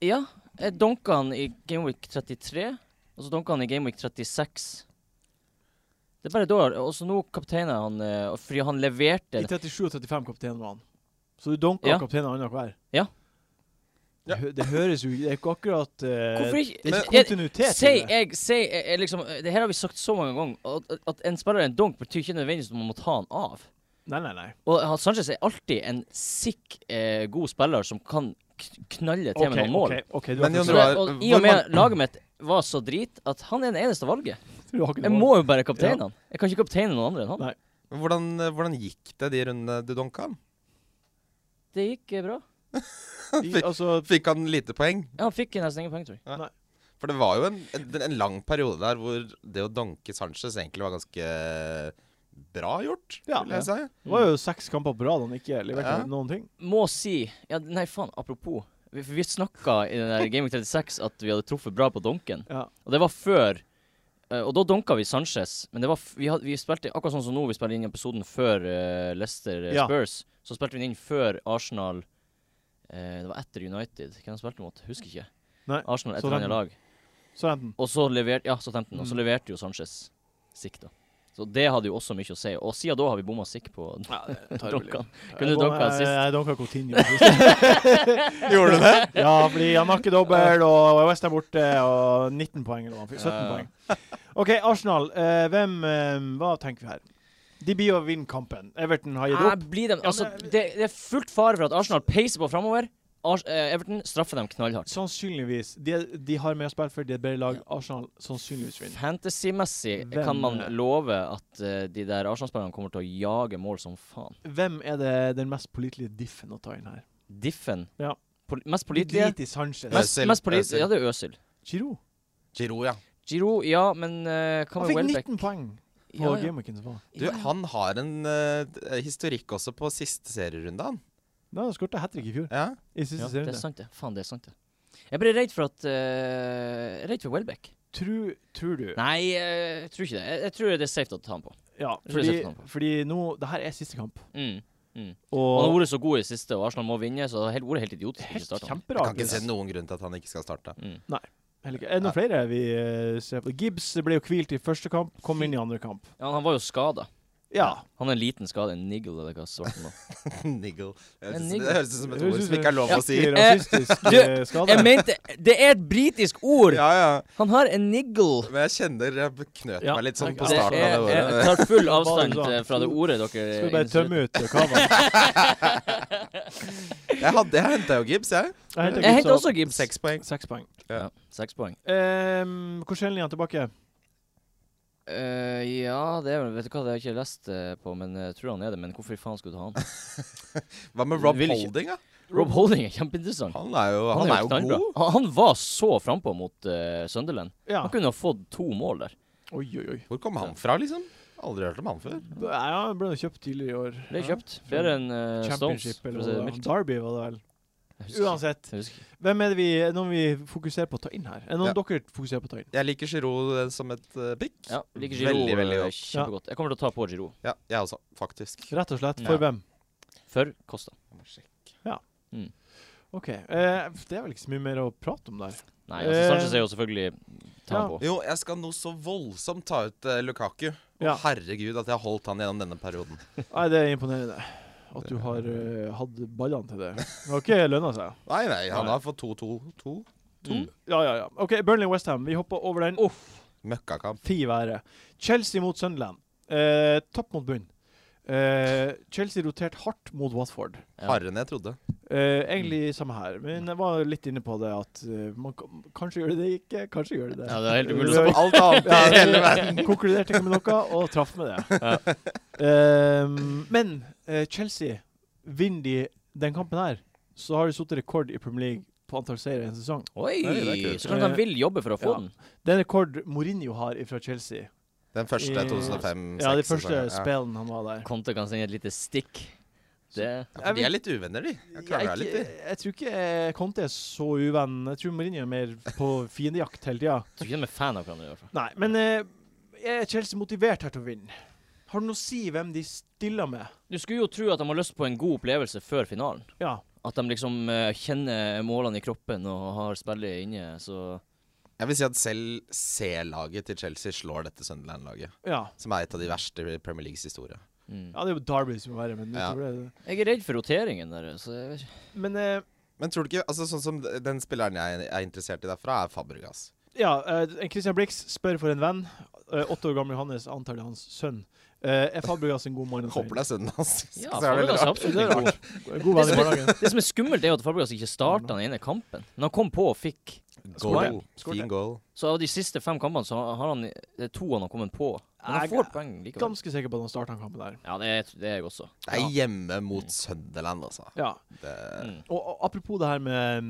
Speaker 2: Ja, jeg donka han i Gameweek 33, og så donka han i Gameweek 36. Det er bare da, og så nå kapteiner han, eh, og fordi han leverte
Speaker 1: I 37 og 35 kaptein var han. Så du dunka
Speaker 2: Ja.
Speaker 1: kapteinen annenhver?
Speaker 2: Ja.
Speaker 1: Det, hø- det høres jo Det er ikke akkurat eh,
Speaker 2: Hvorfor ikke?
Speaker 1: Det er ikke
Speaker 2: Jeg-
Speaker 1: kontinuitet i
Speaker 2: Si,
Speaker 1: det.
Speaker 2: jeg, si, jeg, jeg liksom, eh, det her har vi sagt så mange ganger, at, at en spiller er en donk betyr ikke nødvendigvis at man må ta han av.
Speaker 1: Nei, nei, nei.
Speaker 2: Og han- Sanchez er alltid en sikk eh, god spiller som kan k- knalle til med noen mål.
Speaker 1: ok, ok, du,
Speaker 4: Men
Speaker 1: har
Speaker 4: Jon
Speaker 2: Så
Speaker 1: ikke-
Speaker 2: det,
Speaker 4: Roar,
Speaker 2: og I
Speaker 4: hvor
Speaker 2: og med laget mitt var så drit at han er det eneste valget.
Speaker 1: du har ikke
Speaker 2: Jeg
Speaker 1: noe
Speaker 2: må
Speaker 1: valg.
Speaker 2: jo bare kapteine
Speaker 1: Ja.
Speaker 2: han. Jeg kan ikke kapteine noen andre enn han.
Speaker 1: Nei.
Speaker 4: eh, Hvordan, hvordan gikk det de rundene du donka?
Speaker 2: Det gikk eh, bra.
Speaker 1: I, altså,
Speaker 4: Fikk han lite poeng?
Speaker 2: Ja, han fikk nesten ingen poeng, tror jeg.
Speaker 4: For det var jo en, en, en lang periode der hvor det å danke Sanchez egentlig var ganske eh, bra gjort,
Speaker 1: Ja.
Speaker 4: vil jeg si.
Speaker 1: det var jo seks kamper på rad han ikke leverte
Speaker 4: Ja.
Speaker 1: noen ting.
Speaker 2: Må si ja, Nei, faen, apropos. Vi, for vi snakka i den der Gaming 36 at vi hadde truffet bra på donken.
Speaker 1: Ja.
Speaker 2: Og det var før eh, Og da donka vi Sanchez. Men det var f vi, had, vi spilte akkurat sånn som nå, vi spiller inn episoden før eh, Leicester eh,
Speaker 1: Ja.
Speaker 2: Spurs. Så spilte vi den inn før Arsenal eh, Det var etter United. Hvem de spilte mot? Husker ikke.
Speaker 1: Nei,
Speaker 2: Arsenal et eller annet lag.
Speaker 1: Så enten
Speaker 2: Og så leverte Ja, Southampton. Og så
Speaker 1: Mm.
Speaker 2: leverte jo Sanchez sikk, da. Så det hadde jo også mye å si. Og siden da har vi bomma sikk på
Speaker 1: ja, det tar vel
Speaker 2: donkene.
Speaker 1: litt.
Speaker 2: Kunne du
Speaker 1: Jeg-
Speaker 2: dunka sist?
Speaker 1: Jeg, jeg dunka Coutinho sist.
Speaker 4: Gjorde du det?
Speaker 1: ja, fordi han har ikke dobbel, og West er borte, og 19 poeng eller noe. han fikk 17
Speaker 2: Ja.
Speaker 1: poeng. OK, Arsenal. Eh, hvem eh, Hva tenker vi her? De blir å vinne kampen. Everton har gitt
Speaker 2: Nei,
Speaker 1: opp.
Speaker 2: blir dem, altså,
Speaker 1: men-
Speaker 2: det, det er fullt fare for at Arsenal peiser på framover. eh, Everton straffer dem knallhardt.
Speaker 1: Sannsynligvis. De, de har mer å spille for, de er et bedre lag. Arsenal sannsynligvis vinner.
Speaker 2: Fantasy-messig
Speaker 1: Hvem-
Speaker 2: kan man love at eh, de der Arsenal-spillerne kommer til å jage mål som faen.
Speaker 1: Hvem er det den mest pålitelige diffen å ta inn her?
Speaker 2: Diffen.
Speaker 1: Ja.
Speaker 2: Pol mest
Speaker 1: De
Speaker 2: pålitelige
Speaker 1: driter i Sanchez.
Speaker 4: Mest-
Speaker 2: Mest,
Speaker 4: Øsil.
Speaker 2: mest pålitelige
Speaker 4: Øsil.
Speaker 2: Ja, det er Øsil.
Speaker 1: Giroud.
Speaker 4: Giro, ja.
Speaker 2: Giro, ja, men uh, hva
Speaker 1: Han
Speaker 2: med
Speaker 1: fikk
Speaker 2: Welbeck?
Speaker 1: 19 poeng på
Speaker 2: Ja, ja.
Speaker 1: gameweeken som var.
Speaker 4: Du,
Speaker 2: Ja, ja.
Speaker 4: han har en eh, historikk også på siste serierunde, han.
Speaker 1: Nei, han skåret hat trick i fjor.
Speaker 4: Ja.
Speaker 1: I siste
Speaker 2: Ja, det er
Speaker 1: serierunde.
Speaker 2: sant, det. Faen, det er sant, det. Jeg ble redd for at eh, jeg er Redd for Welbeck.
Speaker 1: Tror, tror du
Speaker 2: Nei, eh, jeg tror ikke det. Jeg, jeg tror det er safe å ta han på.
Speaker 1: Ja,
Speaker 2: Jeg tror jeg
Speaker 1: fordi,
Speaker 2: setter han på.
Speaker 1: fordi nå Det her er siste kamp.
Speaker 2: Mm. Mm. Han har
Speaker 1: Og
Speaker 2: vært så god i det siste, og Arsenal må vinne, så det har helt- vært helt idiotisk. å ikke
Speaker 1: helt
Speaker 2: starte han.
Speaker 4: Jeg
Speaker 1: kjemperart.
Speaker 4: kan ikke se noen grunn til at han ikke skal starte.
Speaker 2: Mm.
Speaker 1: Heller ikke. Er det noen flere vi eh, ser på? Gibbs ble jo hvilt i første kamp, kom inn i andre kamp.
Speaker 2: Ja, han var jo skada.
Speaker 1: Ja.
Speaker 2: Han er en liten skade, en niggle eller hva svarte han var.
Speaker 4: Niggle. Jeg
Speaker 2: En
Speaker 4: synes-
Speaker 2: niggle.
Speaker 4: Det høres ut som et
Speaker 1: Det høres
Speaker 4: ord
Speaker 1: ut
Speaker 4: som ikke er lov å si.
Speaker 1: skikkelig
Speaker 2: Eh,
Speaker 1: Rasistisk
Speaker 2: du,
Speaker 1: eh, skade.
Speaker 2: Jeg mente Det er et britisk ord!
Speaker 4: Ja, ja.
Speaker 2: Han har en niggle.
Speaker 4: Men jeg kjenner jeg knøt
Speaker 1: Ja.
Speaker 4: meg litt sånn på
Speaker 2: Det
Speaker 4: starten
Speaker 2: er,
Speaker 4: av det
Speaker 2: jeg
Speaker 4: ordet.
Speaker 2: tar full
Speaker 1: Hva var det
Speaker 4: sånn.
Speaker 2: avstand
Speaker 1: du sa?
Speaker 2: til- fra det ordet dere
Speaker 1: Skal vi bare tømme ut kavaen?
Speaker 4: Jeg, hadde- jeg henta jo Gibbs, jeg.
Speaker 1: Jeg
Speaker 2: Jeg henter
Speaker 1: Gibbs
Speaker 2: også
Speaker 4: Gibbs.
Speaker 2: Gibbs.
Speaker 4: Seks poeng.
Speaker 1: og seks poeng.
Speaker 2: Ja, seks poeng.
Speaker 1: Um, Korselnia tilbake.
Speaker 2: Eh, ja, det er vel Vet du hva, det har jeg ikke lest eh, på, men jeg tror han er det. Men hvorfor i faen skulle du ha han?
Speaker 4: Hva med Rob
Speaker 2: Vil ikke-
Speaker 4: Holding, da?
Speaker 2: Rob Holding er kjempeinteressant.
Speaker 4: Han er jo, han er jo
Speaker 2: knallbra.
Speaker 4: god.
Speaker 2: Han, han var så frampå mot eh, Sunderland.
Speaker 1: Ja.
Speaker 2: Han kunne ha fått to mål der.
Speaker 1: Oi, oi, oi.
Speaker 4: Hvor kom han fra, liksom? Aldri hørt om han før.
Speaker 1: B- Ja, han ble jo kjøpt tidligere i år.
Speaker 2: Ble kjøpt. Flere enn eh, Stones.
Speaker 1: Championship
Speaker 2: for å
Speaker 1: eller
Speaker 2: si det
Speaker 1: hva det
Speaker 2: mildt.
Speaker 1: var. Derby var det vel.
Speaker 2: Jeg husker ikke.
Speaker 1: Uansett.
Speaker 2: Jeg husker ikke.
Speaker 1: Hvem er det vi, er det noen vi fokuserer på å ta inn her? Er det noen dere fokuserer på å ta inn?
Speaker 4: Jeg liker Giroud eh, som et eh, pick.
Speaker 2: Ja, liker Giro
Speaker 4: Veldig, veldig
Speaker 2: eh,
Speaker 4: godt.
Speaker 2: kjempegodt. Jeg kommer til å ta på Giro.
Speaker 4: Ja, jeg også, faktisk.
Speaker 1: Rett og slett.
Speaker 2: Ja.
Speaker 1: For hvem?
Speaker 2: For Costa.
Speaker 1: OK. eh, det er vel ikke så mye mer å prate om der.
Speaker 2: Nei, altså
Speaker 1: Eh,
Speaker 2: Sanchez er jo selvfølgelig ta
Speaker 1: ja.
Speaker 2: på.
Speaker 4: Jo, jeg skal nå så voldsomt ta ut eh, Lukaku. Å,
Speaker 1: Ja.
Speaker 4: Herregud, at jeg har holdt han gjennom denne perioden.
Speaker 1: Nei, det er imponerende. At du har eh, hatt ballene til det. Det har ikke lønna seg.
Speaker 4: Nei, nei, han
Speaker 1: Nei.
Speaker 4: har fått 2-2-2.
Speaker 2: Mm.
Speaker 1: Ja, ja, ja. OK, Burnley-Westham. Vi hopper over den.
Speaker 4: Møkkakamp.
Speaker 1: Fy være. Chelsea mot Sunderland. Eh, topp mot bunn. Eh, Chelsea roterte hardt mot Watford.
Speaker 2: Ja.
Speaker 4: Hardere enn jeg trodde.
Speaker 1: Eh, egentlig samme her, men jeg var litt inne på det at eh, man kan, kanskje gjør det det ikke, kanskje gjør det det.
Speaker 2: Ja, det er helt umulig å
Speaker 4: Som
Speaker 1: Det var-
Speaker 4: alt annet
Speaker 1: Ja,
Speaker 4: i hele verden.
Speaker 1: jeg konkluderte ikke med noe og traff med det. Ehm, men eh, Chelsea, vinner de den kampen her, så har de satt rekord i Premier League på antall seire i en sesong.
Speaker 2: Oi!
Speaker 4: Nei, det er kult.
Speaker 2: Så klart han vil jobbe for å få
Speaker 1: Ja.
Speaker 2: den.
Speaker 1: Det er en rekord Mourinho har fra Chelsea.
Speaker 4: Den første
Speaker 1: I-
Speaker 4: 2005-2006.
Speaker 1: Ja, de første spillene han var der.
Speaker 2: Conte kan sende et lite stikk. Det
Speaker 4: Ja, for de er litt uvenner, de. Jeg
Speaker 1: Jeg,
Speaker 4: krangler litt,
Speaker 1: jeg,
Speaker 4: de.
Speaker 1: jeg tror ikke eh, Conte er så uvenn. Jeg tror Mourinho er mer på fiendejakt hele tida.
Speaker 2: jeg tror ikke de er fan av hverandre, i hvert fall.
Speaker 1: Nei, men eh, er Chelsea motivert her til å vinne? Har det noe å si hvem de stiller med?
Speaker 2: Du skulle jo tro at de har lyst på en god opplevelse før finalen.
Speaker 1: Ja.
Speaker 2: At de liksom eh, kjenner målene i kroppen og har spillet inne, så
Speaker 4: Jeg vil si at selv C-laget til Chelsea slår dette Sunderland-laget.
Speaker 1: Ja,
Speaker 4: Som er et av de verste i Premier Leagues historie.
Speaker 2: mm.
Speaker 1: ja det er jo Derby som må være, men
Speaker 4: Ja.
Speaker 1: utover det
Speaker 2: Jeg er redd for roteringen der, så jeg vet ikke.
Speaker 1: Men eh,
Speaker 4: Men tror du ikke altså Sånn som den spilleren jeg er interessert i derfra, er Fabregas.
Speaker 1: Ja, eh, Christian Blix spør for en venn. Eh, åtte år gamle Johannes antar det er hans sønn. Eh, er Fabregas en god mann? å si?
Speaker 4: Håper det er sønnen hans.
Speaker 2: Ja,
Speaker 4: Så er det
Speaker 2: Fabregas er
Speaker 4: rart.
Speaker 2: absolutt en god
Speaker 1: God venn i barnehagen.
Speaker 2: Det som er skummelt, er jo at Fabregas ikke starta den ene kampen. Men han kom på og fikk.
Speaker 4: Goal.
Speaker 1: Skåret.
Speaker 4: Fin goal.
Speaker 2: Så av de siste fem kampene så har han det er to han har kommet på. Men han
Speaker 1: Jeg
Speaker 2: får poeng likevel.
Speaker 1: Ganske sikker på at han starta kampen der.
Speaker 2: Ja, det er, det er jeg også.
Speaker 4: Det er hjemme mot Sunderland, altså.
Speaker 1: Ja.
Speaker 4: Det,
Speaker 2: Mm.
Speaker 1: Og, og apropos det her med um,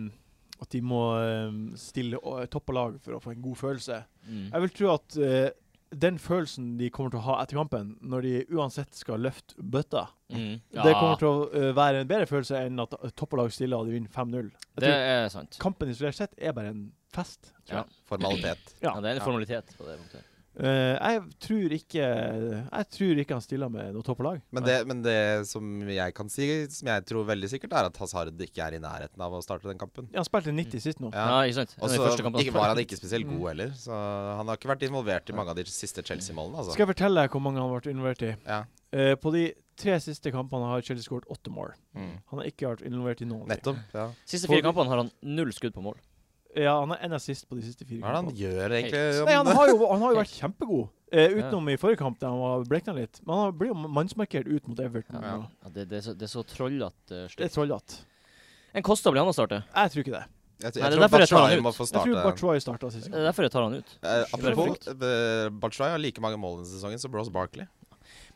Speaker 1: at de må um, stille uh, topp på lag for å få en god følelse.
Speaker 2: Mm.
Speaker 1: Jeg vil tro at eh, den følelsen de kommer til å ha etter kampen, når de uansett skal løfte bøtta,
Speaker 2: Mm.
Speaker 1: det
Speaker 2: Ja,
Speaker 1: kommer til å eh, være en bedre følelse enn at topp lag stiller og de vinner 5-0. Jeg
Speaker 2: det
Speaker 1: tror
Speaker 2: er sant.
Speaker 1: Kampen isolert sett er bare en fest.
Speaker 2: Ja.
Speaker 4: formalitet.
Speaker 1: Ja.
Speaker 2: Ja, det er en
Speaker 4: Ja.
Speaker 2: formalitet på det punktet.
Speaker 1: Eh, jeg tror ikke Jeg tror ikke han stiller med noe topp lag.
Speaker 4: Men det, men det som jeg kan si, som jeg tror veldig sikkert, er at Hazard ikke er i nærheten av å starte den kampen.
Speaker 1: Han spilte 90 sist nå.
Speaker 2: Ja,
Speaker 4: Mm. Ja.
Speaker 2: ikke sant? Det
Speaker 4: Og
Speaker 2: er den
Speaker 4: så
Speaker 2: første kampen Mm.
Speaker 4: ikke- var han
Speaker 2: spilte.
Speaker 4: ikke spesielt god heller, så han har ikke vært involvert i mange av de siste Chelsea-målene. Altså.
Speaker 1: Skal jeg fortelle deg hvor mange han ble involvert i?
Speaker 4: Ja.
Speaker 1: Eh, på de tre siste kampene har Chelsea skåret åtte mål.
Speaker 4: Mm.
Speaker 1: Han har ikke vært involvert i noen. av de.
Speaker 4: Nettopp. Ja.
Speaker 2: Siste fire kampene har han null skudd på mål.
Speaker 1: Ja, han er enda sist på de siste fire
Speaker 4: Hva er det han
Speaker 1: kampene.
Speaker 4: gjør
Speaker 2: Helt.
Speaker 4: egentlig? om-
Speaker 1: Nei, han har jo, han har jo vært kjempegod, eh, utenom i forrige kamp, der han var blekna litt. Men han blir jo mannsmarkert ut mot Everton.
Speaker 4: Ja.
Speaker 1: og
Speaker 2: Ja, det, det, er så, det er så trollete. Uh,
Speaker 1: Det er
Speaker 2: stygt.
Speaker 1: trollete.
Speaker 2: en Kosta blir han å starte.
Speaker 1: Jeg tror ikke det.
Speaker 4: Jeg,
Speaker 2: Nei,
Speaker 4: jeg
Speaker 2: det er
Speaker 4: tror
Speaker 2: derfor jeg tar
Speaker 4: Batshuayi
Speaker 2: han
Speaker 4: må
Speaker 2: ut.
Speaker 4: få
Speaker 1: Jeg tror
Speaker 4: starte.
Speaker 1: Batshuayi starta sist.
Speaker 2: Det er derfor jeg tar han ut.
Speaker 4: Eh, apropos,
Speaker 2: Frykt.
Speaker 4: eh, Batshuayi har like mange mål denne sesongen som Bros Barkley.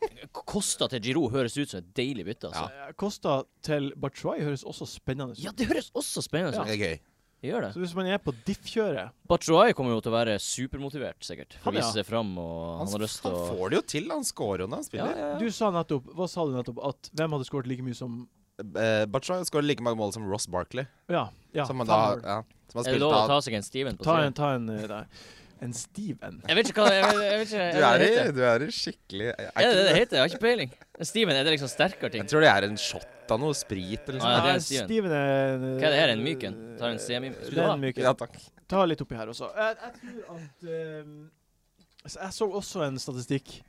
Speaker 2: K- Kosta til Giroud høres ut som et deilig bytte, altså.
Speaker 1: Eh, Kosta til Batshuayi høres også spennende ut.
Speaker 2: Ja, det høres også spennende
Speaker 1: Ja.
Speaker 2: ut.
Speaker 4: Det er gøy.
Speaker 2: Det Gjør det.
Speaker 1: Så hvis man er på diff-kjøret
Speaker 2: Batshuayi kommer jo til å være supermotivert, sikkert. For
Speaker 1: Han,
Speaker 2: å
Speaker 1: ja.
Speaker 2: vise seg fram, og han,
Speaker 4: Han,
Speaker 2: har
Speaker 4: han
Speaker 2: lyst til å
Speaker 4: får det jo til, han scorer jo når
Speaker 2: ja,
Speaker 4: han spiller.
Speaker 2: ja, ja.
Speaker 1: Du sa nettopp Hva sa du nettopp? At hvem hadde skåret like mye som
Speaker 4: Eh, Batshuayi scorer like mange mål som Ross Barkley,
Speaker 1: Ja. ja
Speaker 4: som, han da,
Speaker 1: fem mål.
Speaker 4: ja, som har
Speaker 2: Er det
Speaker 4: spilt
Speaker 2: lov å
Speaker 4: av
Speaker 2: ta seg en Steven på
Speaker 1: Ta en,
Speaker 2: siden?
Speaker 1: ta en eh, der. En Steven.
Speaker 2: Jeg vet ikke hva jeg vet, jeg vet ikke,
Speaker 4: du
Speaker 2: hva
Speaker 4: er,
Speaker 2: det
Speaker 4: i,
Speaker 2: heter.
Speaker 4: du er i skikkelig er
Speaker 2: Er det det
Speaker 4: ikke-
Speaker 2: det heter? Jeg har ikke peiling. En Steven, er det liksom sterkere ting?
Speaker 4: Jeg tror det er en shot av noe sprit eller noe
Speaker 2: Ah, ja,
Speaker 4: sånt.
Speaker 2: det er en Steven.
Speaker 1: Steven. Steven er
Speaker 2: Hva er det her, en myk en? Ta en semi- Skulle du
Speaker 1: Det er
Speaker 2: ha?
Speaker 1: en myk en.
Speaker 4: Ja, takk.
Speaker 1: Ta litt oppi her også. Jeg, jeg tror at eh, så Jeg så også en statistikk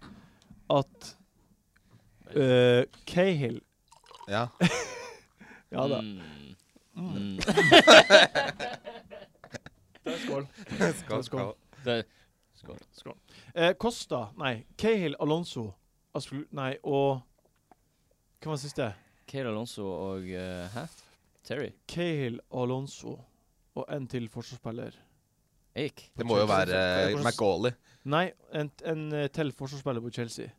Speaker 1: at eh, Cahill
Speaker 4: Ja.
Speaker 1: Ja da.
Speaker 2: Mm.
Speaker 1: Mm.
Speaker 2: Mm.
Speaker 1: Skål.
Speaker 4: Skål, skål.
Speaker 2: Det-
Speaker 1: Skål. Eh, Costa Nei, Cahill, Alonso Aspro, Nei, og Hva var det siste?
Speaker 2: Keir Alonso og eh, Hæ? Terry?
Speaker 1: Cahill, Alonso og en til forsvarsspiller.
Speaker 2: Eik?
Speaker 4: Det må jo være eh, McAuley.
Speaker 1: Nei, en, en eh, til forsvarsspiller på Chelsea.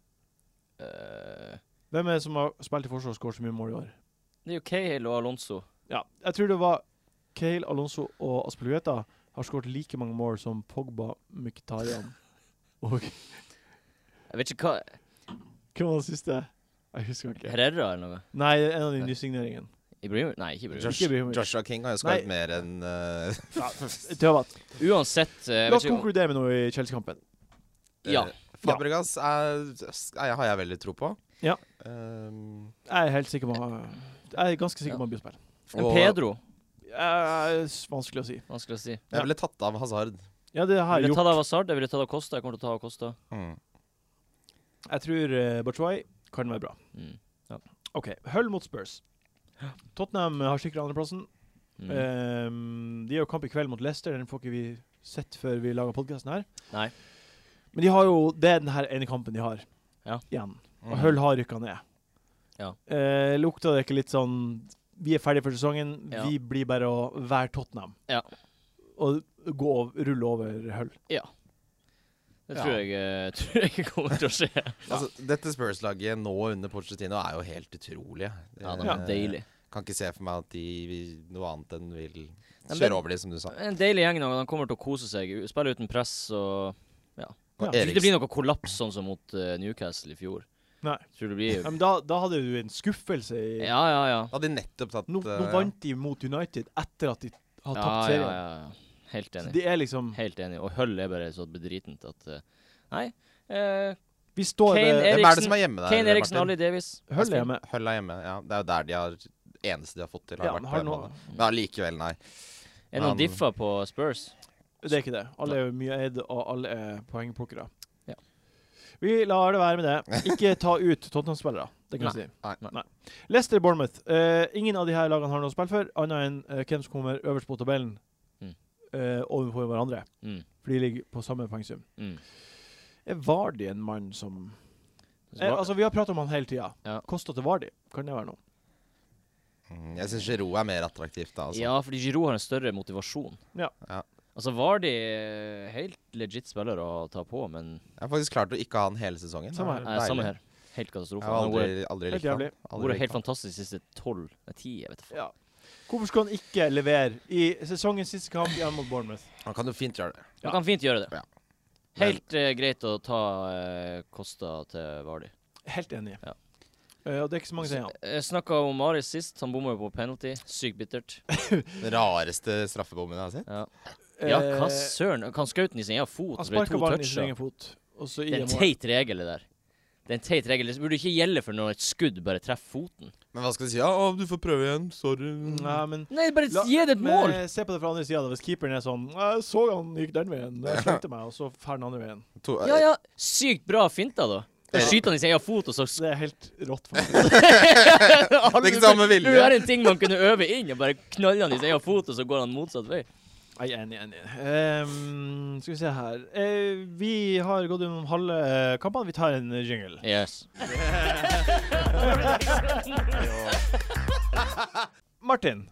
Speaker 2: Eh,
Speaker 1: Hvem er det som har spilt i forsvar og skåret så mye mål i år?
Speaker 2: det er jo Cahill og Alonso.
Speaker 1: Ja, jeg tror det var Cahill, Alonso og Aspelgueta har skåret like mange mål som Pogba, Mkhitaryan og
Speaker 2: Jeg vet ikke hva
Speaker 1: Hvem var den siste? Jeg husker ikke.
Speaker 2: Herrera eller noe?
Speaker 1: Nei, en av de nysigneringene.
Speaker 2: Ibrahim? Nei, ikke Ibrahim.
Speaker 4: Josh,
Speaker 1: Ikke Ibrahimovic.
Speaker 4: Joshua King har jo skåret mer enn eh,
Speaker 1: Tøvat.
Speaker 2: Uansett eh,
Speaker 1: La
Speaker 2: jeg vet
Speaker 1: oss
Speaker 2: ikke om-
Speaker 1: konkludere med noe i Chelsea-kampen.
Speaker 2: Ja.
Speaker 4: eh, Fabregas er, er, har jeg veldig tro på.
Speaker 1: Ja.
Speaker 4: Um,
Speaker 1: Jeg er helt sikker på Jeg er ganske sikker på han blir å spille.
Speaker 2: En
Speaker 4: og
Speaker 2: Pedro,
Speaker 1: Eh, s- Vanskelig å si.
Speaker 2: vanskelig å si.
Speaker 4: jeg ville tatt av Hazard.
Speaker 1: Ja, det har jeg
Speaker 2: Jeg ville
Speaker 1: gjort.
Speaker 2: tatt av Hazard, jeg ville tatt av Costa. Jeg kommer til å ta av Costa.
Speaker 1: Jeg tror uh, Bachuay kan være bra.
Speaker 2: Mm.
Speaker 1: OK. Hull mot Spurs. Tottenham har sikra andreplassen.
Speaker 2: Mm.
Speaker 1: Ehm, de har jo kamp i kveld mot Leicester. Den får ikke vi sett før vi lager podkasten her.
Speaker 2: Nei.
Speaker 1: Men de har jo, det er den her ene kampen de har
Speaker 2: Ja.
Speaker 1: igjen. Og
Speaker 4: Mm.
Speaker 1: Hull har rykka ned.
Speaker 2: Ja.
Speaker 1: Eh, lukta det ikke litt sånn Vi er ferdige for sesongen.
Speaker 2: Ja.
Speaker 1: Vi blir bare å være Tottenham.
Speaker 2: Ja.
Speaker 1: Og gå over, rulle over Hull.
Speaker 2: Det tror,
Speaker 4: Ja.
Speaker 2: jeg, eh, tror jeg ikke kommer til å skje.
Speaker 4: Altså, dette Spurs-laget nå under Pochettino er jo helt utrolig.
Speaker 2: Ja, det
Speaker 4: Eh,
Speaker 2: er deilig.
Speaker 4: Kan ikke se for meg at de vil- noe annet enn vil
Speaker 2: Men
Speaker 4: kjøre
Speaker 2: det-
Speaker 4: over de, som du sa.
Speaker 2: En deilig gjeng nå. De kommer til å kose seg. Spille uten press og
Speaker 1: Ja.
Speaker 4: Og
Speaker 2: Jeg tror ikke det blir
Speaker 4: Eriksen,
Speaker 2: noe kollaps sånn som mot eh, Newcastle i fjor.
Speaker 1: Nei.
Speaker 2: Tror det blir
Speaker 1: Ja, men da, da hadde du en skuffelse i
Speaker 2: Ja, ja, ja.
Speaker 4: hadde de nettopp tatt
Speaker 1: nå, nå
Speaker 4: eh,
Speaker 1: vant de mot United etter at de har
Speaker 2: Ja,
Speaker 1: tapt
Speaker 2: ja,
Speaker 1: serien.
Speaker 2: ja, ja. Helt
Speaker 1: Så
Speaker 2: enig.
Speaker 1: det er liksom
Speaker 2: Helt enig. Og Hull er bare så bedritent at eh, Nei. Eh,
Speaker 1: Vi står
Speaker 2: Kane
Speaker 1: ved
Speaker 2: er-
Speaker 4: Hvem er det
Speaker 2: Eriksen-
Speaker 4: som er hjemme der?
Speaker 2: Kane Eriksen,
Speaker 4: Martin?
Speaker 2: Ali Davies.
Speaker 1: Hull er hjemme.
Speaker 4: Hull er hjemme, ja. Det er jo der de har eneste de har fått til, har
Speaker 1: Ja,
Speaker 4: vært
Speaker 1: men
Speaker 4: på
Speaker 1: har
Speaker 4: hjemmebane.
Speaker 1: noe,
Speaker 4: Men allikevel, nei.
Speaker 2: Er det noen
Speaker 4: Han-
Speaker 2: diffa på Spurs?
Speaker 1: Det er ikke det. Alle er jo mye eid, og alle er poengplukkere.
Speaker 2: Ja.
Speaker 1: Vi lar det være med det. Ikke ta ut Tottenham-spillere. Det kan jeg si.
Speaker 4: Nei,
Speaker 2: nei.
Speaker 1: Leicester Bournemouth. Eh, ingen av de her lagene har noe å spille for, annet enn eh, hvem som kommer øverst på tabellen
Speaker 2: Mm.
Speaker 1: eh, overfor hverandre.
Speaker 2: Mm.
Speaker 1: For de ligger på samme poengsum.
Speaker 2: Mm.
Speaker 1: Er Vardy en mann som
Speaker 2: Så
Speaker 1: Eh,
Speaker 2: var-
Speaker 1: altså, vi har pratet om han hele tida.
Speaker 2: Ja.
Speaker 1: Kosta til Vardi, kan det være noe?
Speaker 4: Mm, Jeg syns Giroud er mer attraktivt, da. Altså.
Speaker 2: Ja, fordi Giroud har en større motivasjon.
Speaker 1: Ja.
Speaker 4: Ja.
Speaker 2: Altså Vardi er helt legit spiller å ta på, men
Speaker 4: Jeg har faktisk klart å ikke ha han hele sesongen.
Speaker 1: Samme her.
Speaker 4: Det er
Speaker 2: nei, samme
Speaker 4: deilig.
Speaker 2: her. Helt katastrofe.
Speaker 4: Jeg har
Speaker 2: Han har vært-
Speaker 4: aldri, aldri
Speaker 1: Helt
Speaker 4: likt han.
Speaker 1: jævlig.
Speaker 4: Aldri
Speaker 2: vært
Speaker 4: likt
Speaker 2: helt
Speaker 4: han.
Speaker 2: fantastisk de siste tolv, nei, ti, jeg vet ikke.
Speaker 1: Ja. Hvorfor skulle han ikke levere i sesongens siste kamp igjen mot Bournemouth?
Speaker 4: Han kan jo fint gjøre det.
Speaker 1: Ja.
Speaker 2: Man kan fint gjøre det.
Speaker 4: Ja.
Speaker 2: Helt eh, greit å ta eh, Kosta til Vardi.
Speaker 1: Helt enig.
Speaker 2: Ja.
Speaker 1: Eh, og det er ikke så mange som er igjen.
Speaker 2: Jeg snakka om Maris sist. Han bomma jo på penalty. Sykt bittert.
Speaker 4: Den rareste straffebommen jeg har sett.
Speaker 2: Ja, ja hva
Speaker 1: Eh,
Speaker 2: søren? Kan skauten i sin egen fot?
Speaker 1: Han
Speaker 2: Det ble
Speaker 1: sparka
Speaker 2: to
Speaker 1: ballen i sin
Speaker 2: toucher.
Speaker 1: egen fot. Og så i
Speaker 2: Det er en
Speaker 1: mål.
Speaker 2: teit regel, det der. Det er en teit regel. Det burde ikke gjelde for når et skudd bare treffer foten.
Speaker 4: Men hva skal du si? Ja, å, du får prøve igjen. Sorry.
Speaker 1: Nei, men
Speaker 2: Nei, bare
Speaker 1: La-
Speaker 2: gi det et mål!
Speaker 1: Men, eh, se på det fra andre sida. Hvis keeperen er sånn Jeg så han gikk den veien, jeg slengte meg, og så fer den andre veien.
Speaker 4: To,
Speaker 2: Ja, ja. Sykt bra finta, da. Da
Speaker 4: Ja.
Speaker 2: skyter han i sin egen fot, og så
Speaker 1: Det er helt rått, faktisk.
Speaker 2: Det
Speaker 4: ikke samme vilje.
Speaker 2: Det er en ting man kunne øve inn, og bare knalle han i sin egen fot, og så går han motsatt vei.
Speaker 1: Jeg er enig, enig. Ehm, skal vi se her Eh, Vi har gått gjennom halve eh, kampene. Vi tar en jingle.
Speaker 2: Yes.
Speaker 1: Martin.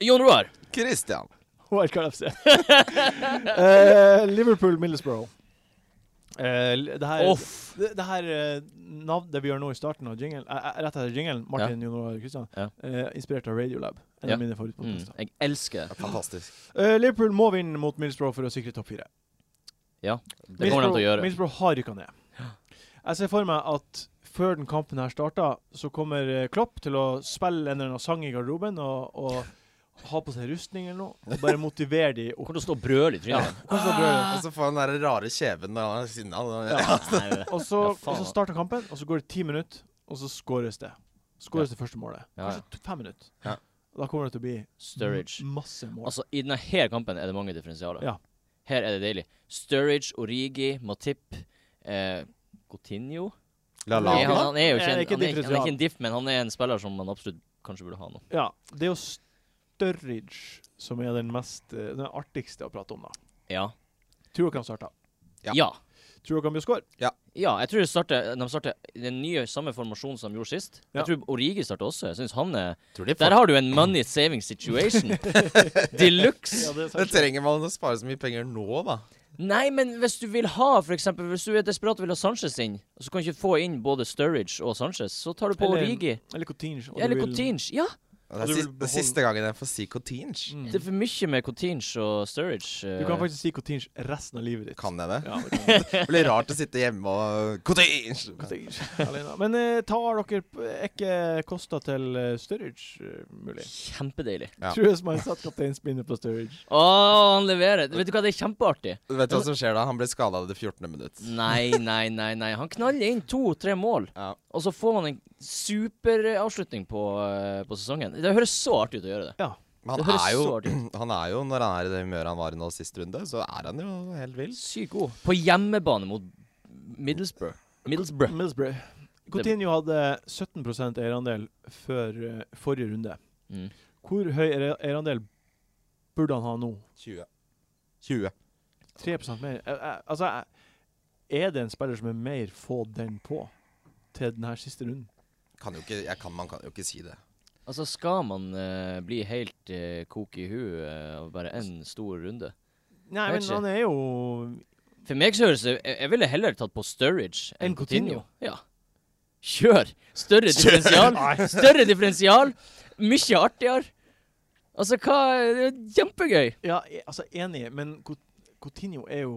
Speaker 2: Jon Roar.
Speaker 4: Christian.
Speaker 1: Wildcard FC. Eh, Liverpool Middlesbrough. Eh, li- det her,
Speaker 2: Off.
Speaker 1: det, det her eh, nav- det vi gjør nå i starten av jingle, eh, eh, rett etter jingle, Martin Jon Olav Kristian,
Speaker 2: Ja.
Speaker 1: eh, inspirert av Radiolab. En
Speaker 2: Ja.
Speaker 1: av mine
Speaker 2: Mm,
Speaker 1: favorittpodkaster.
Speaker 2: jeg elsker det.
Speaker 4: Fantastisk.
Speaker 1: Eh, Liverpool må vinne mot Middlesbrough for å sikre topp fire.
Speaker 2: Det kommer de til å gjøre.
Speaker 1: Middlesbrough har rykka ned. Jeg ser for meg at før den kampen her starta, så kommer eh, Klopp til å spille en eller annen sang i garderoben og, og ha på seg rustning eller noe, og bare motivere de opp.
Speaker 2: Kommer til å stå og brøle i trynet.
Speaker 1: Hvordan skal brølet?
Speaker 4: Og så får han den der rare kjeven når han er sinna. Ah. Ja.
Speaker 2: Nei, det-
Speaker 1: Og så,
Speaker 2: Ja,
Speaker 1: og
Speaker 2: faen,
Speaker 1: så
Speaker 2: da.
Speaker 1: starter kampen, og så går det ti minutter, og så skåres det. Skåres det første målet.
Speaker 2: Ja, ja.
Speaker 1: Kanskje to- fem minutter.
Speaker 4: Ja.
Speaker 1: Og Da kommer det til å bli
Speaker 2: Sturridge.
Speaker 1: m- masse mål.
Speaker 2: Altså, I denne her kampen er det mange differensialer.
Speaker 1: Ja.
Speaker 2: Her er det deilig. Sturridge, Origi, Matip, eh, Coutinho
Speaker 4: La la
Speaker 2: Nei, han, han er
Speaker 1: Er det
Speaker 2: jo ikke, en,
Speaker 1: ikke
Speaker 2: han, er, ikke- han er
Speaker 1: differensial?
Speaker 2: ikke en diff, men han er en spiller som man absolutt kanskje burde ha nå.
Speaker 1: ja, det er jo Sturridge som er den mest eh, Den artigste å prate om, da.
Speaker 2: Ja.
Speaker 1: Tror dere han starter?
Speaker 4: Ja.
Speaker 2: Ja. ja.
Speaker 1: Tror dere han blir å score?
Speaker 2: jeg tror det starter, de starter i den nye samme formasjonen som de gjorde sist.
Speaker 1: Ja.
Speaker 2: Jeg tror Origi starter også. Jeg synes han er
Speaker 4: Tror de
Speaker 2: Der
Speaker 4: får
Speaker 2: har du en money saving situation. De luxe.
Speaker 1: det er
Speaker 4: Men trenger man å spare så mye penger nå, da?
Speaker 2: Nei, men hvis du vil ha for eksempel, Hvis du er desperat og vil ha Sanchez inn, og så kan du ikke få inn både Sturridge og Sanchez, så tar du på
Speaker 1: Eller-
Speaker 2: Origi.
Speaker 1: Eller Coutinho. og
Speaker 2: Eller
Speaker 1: du vil-
Speaker 2: Coutinge. Ja!
Speaker 4: Det
Speaker 1: du
Speaker 4: er
Speaker 1: vil
Speaker 4: siste,
Speaker 1: beholde-
Speaker 4: siste gangen jeg får si Cotinge.
Speaker 1: Mm.
Speaker 2: Det er for mye med Coutinge og Sturridge. eh,
Speaker 1: Du kan faktisk si Coutinge resten av livet
Speaker 2: Mm.
Speaker 1: ditt.
Speaker 4: Kan jeg det?
Speaker 1: Ja, det kan du.
Speaker 4: Det blir rart å sitte hjemme og Cotinge!
Speaker 1: Coutinho alene. Men eh, tar dere p- er ikke Kosta til eh, Sturridge eh, mulig?
Speaker 2: Kjempedeilig.
Speaker 4: Ja.
Speaker 1: Tror jeg som har satt kapteinspinnet på Sturridge.
Speaker 2: Å, han leverer. Vet du hva, det er kjempeartig.
Speaker 4: Vet du hva som skjer da? Han blir skada i det 14. minutt.
Speaker 2: Nei, nei, nei. nei Han knaller inn to-tre mål,
Speaker 4: Ja.
Speaker 2: og så får man en superavslutning på, eh, på sesongen. Det høres så artig ut å gjøre det.
Speaker 4: Men
Speaker 2: Det
Speaker 4: han
Speaker 2: høres
Speaker 4: er, jo,
Speaker 2: så artig
Speaker 4: han er jo, når han er i det humøret han var i nå sist runde, så er han jo helt vill.
Speaker 2: Sykt god. På hjemmebane mot Middlesbrough. Middlesbrough.
Speaker 1: Middlesbrough. Coutinho hadde 17 eierandel før eh, forrige runde.
Speaker 2: Mm.
Speaker 1: Hvor høy eier- eierandel burde han ha nå?
Speaker 4: 20. 20.
Speaker 1: 3 mer? Eh, eh, Altså, eh, er det en spiller som er mer få den på til denne siste runden?
Speaker 4: Kan jo ikke, jeg kan, man kan jo ikke si det.
Speaker 2: Altså, skal man eh, bli helt eh, kok i huet eh, av bare én stor runde?
Speaker 1: Nei,
Speaker 2: Jeg
Speaker 1: men
Speaker 2: vet
Speaker 1: han er jo
Speaker 2: For meg så høres det jeg, jeg ville heller tatt på Sturridge enn
Speaker 1: Enn Coutinho.
Speaker 2: Coutinho. Ja. Kjør! Større differensial. Større differensial. Mye artigere. Altså, hva Det er kjempegøy.
Speaker 1: Ja, eh, altså, enig, men Cou- Coutinho er jo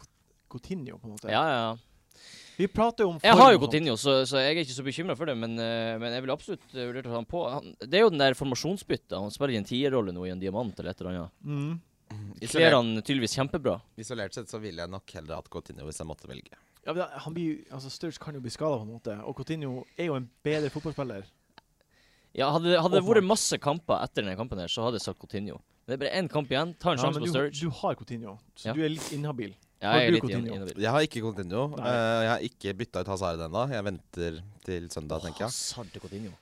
Speaker 1: Cou- Coutinho, på en måte.
Speaker 2: Ja, ja.
Speaker 1: Vi prater jo om
Speaker 2: Jeg
Speaker 1: form
Speaker 2: har
Speaker 1: og
Speaker 2: jo
Speaker 1: sånt.
Speaker 2: Coutinho, så, så jeg er ikke så bekymra for det. Men, eh, men jeg vil absolutt eh, vurdert å ta han på. Han, det er jo den der formasjonsbyttet. Han spiller i en tierrolle nå i en diamant eller et eller annet.
Speaker 1: Mm.
Speaker 2: Kler
Speaker 4: Isolert,
Speaker 2: han tydeligvis kjempebra.
Speaker 4: isolert sett så ville jeg nok heller hatt Cotinho hvis jeg måtte velge.
Speaker 1: Ja, men han blir, jo- altså, Sturridge kan jo bli skada, på en måte. Og Coutinho er jo en bedre fotballspiller.
Speaker 2: Ja, hadde, hadde det
Speaker 1: Og
Speaker 2: vært
Speaker 1: Mark.
Speaker 2: masse kamper etter denne kampen, her, så hadde jeg sagt Coutinho. Men det er bare én kamp igjen. Ta en
Speaker 1: Ja,
Speaker 2: sjanse
Speaker 1: men du,
Speaker 2: på Sturridge.
Speaker 1: du har Coutinho, så
Speaker 2: Ja.
Speaker 1: du er litt inhabil.
Speaker 2: Ja,
Speaker 1: har
Speaker 2: jeg
Speaker 1: du
Speaker 2: er litt
Speaker 1: Coutinho?
Speaker 2: inn- inhabil.
Speaker 4: Jeg har ikke Cotinho.
Speaker 1: Nei.
Speaker 4: jeg har ikke bytta ut Hazard ennå. Jeg venter til søndag, tenker jeg.
Speaker 2: Hazard til Coutinho.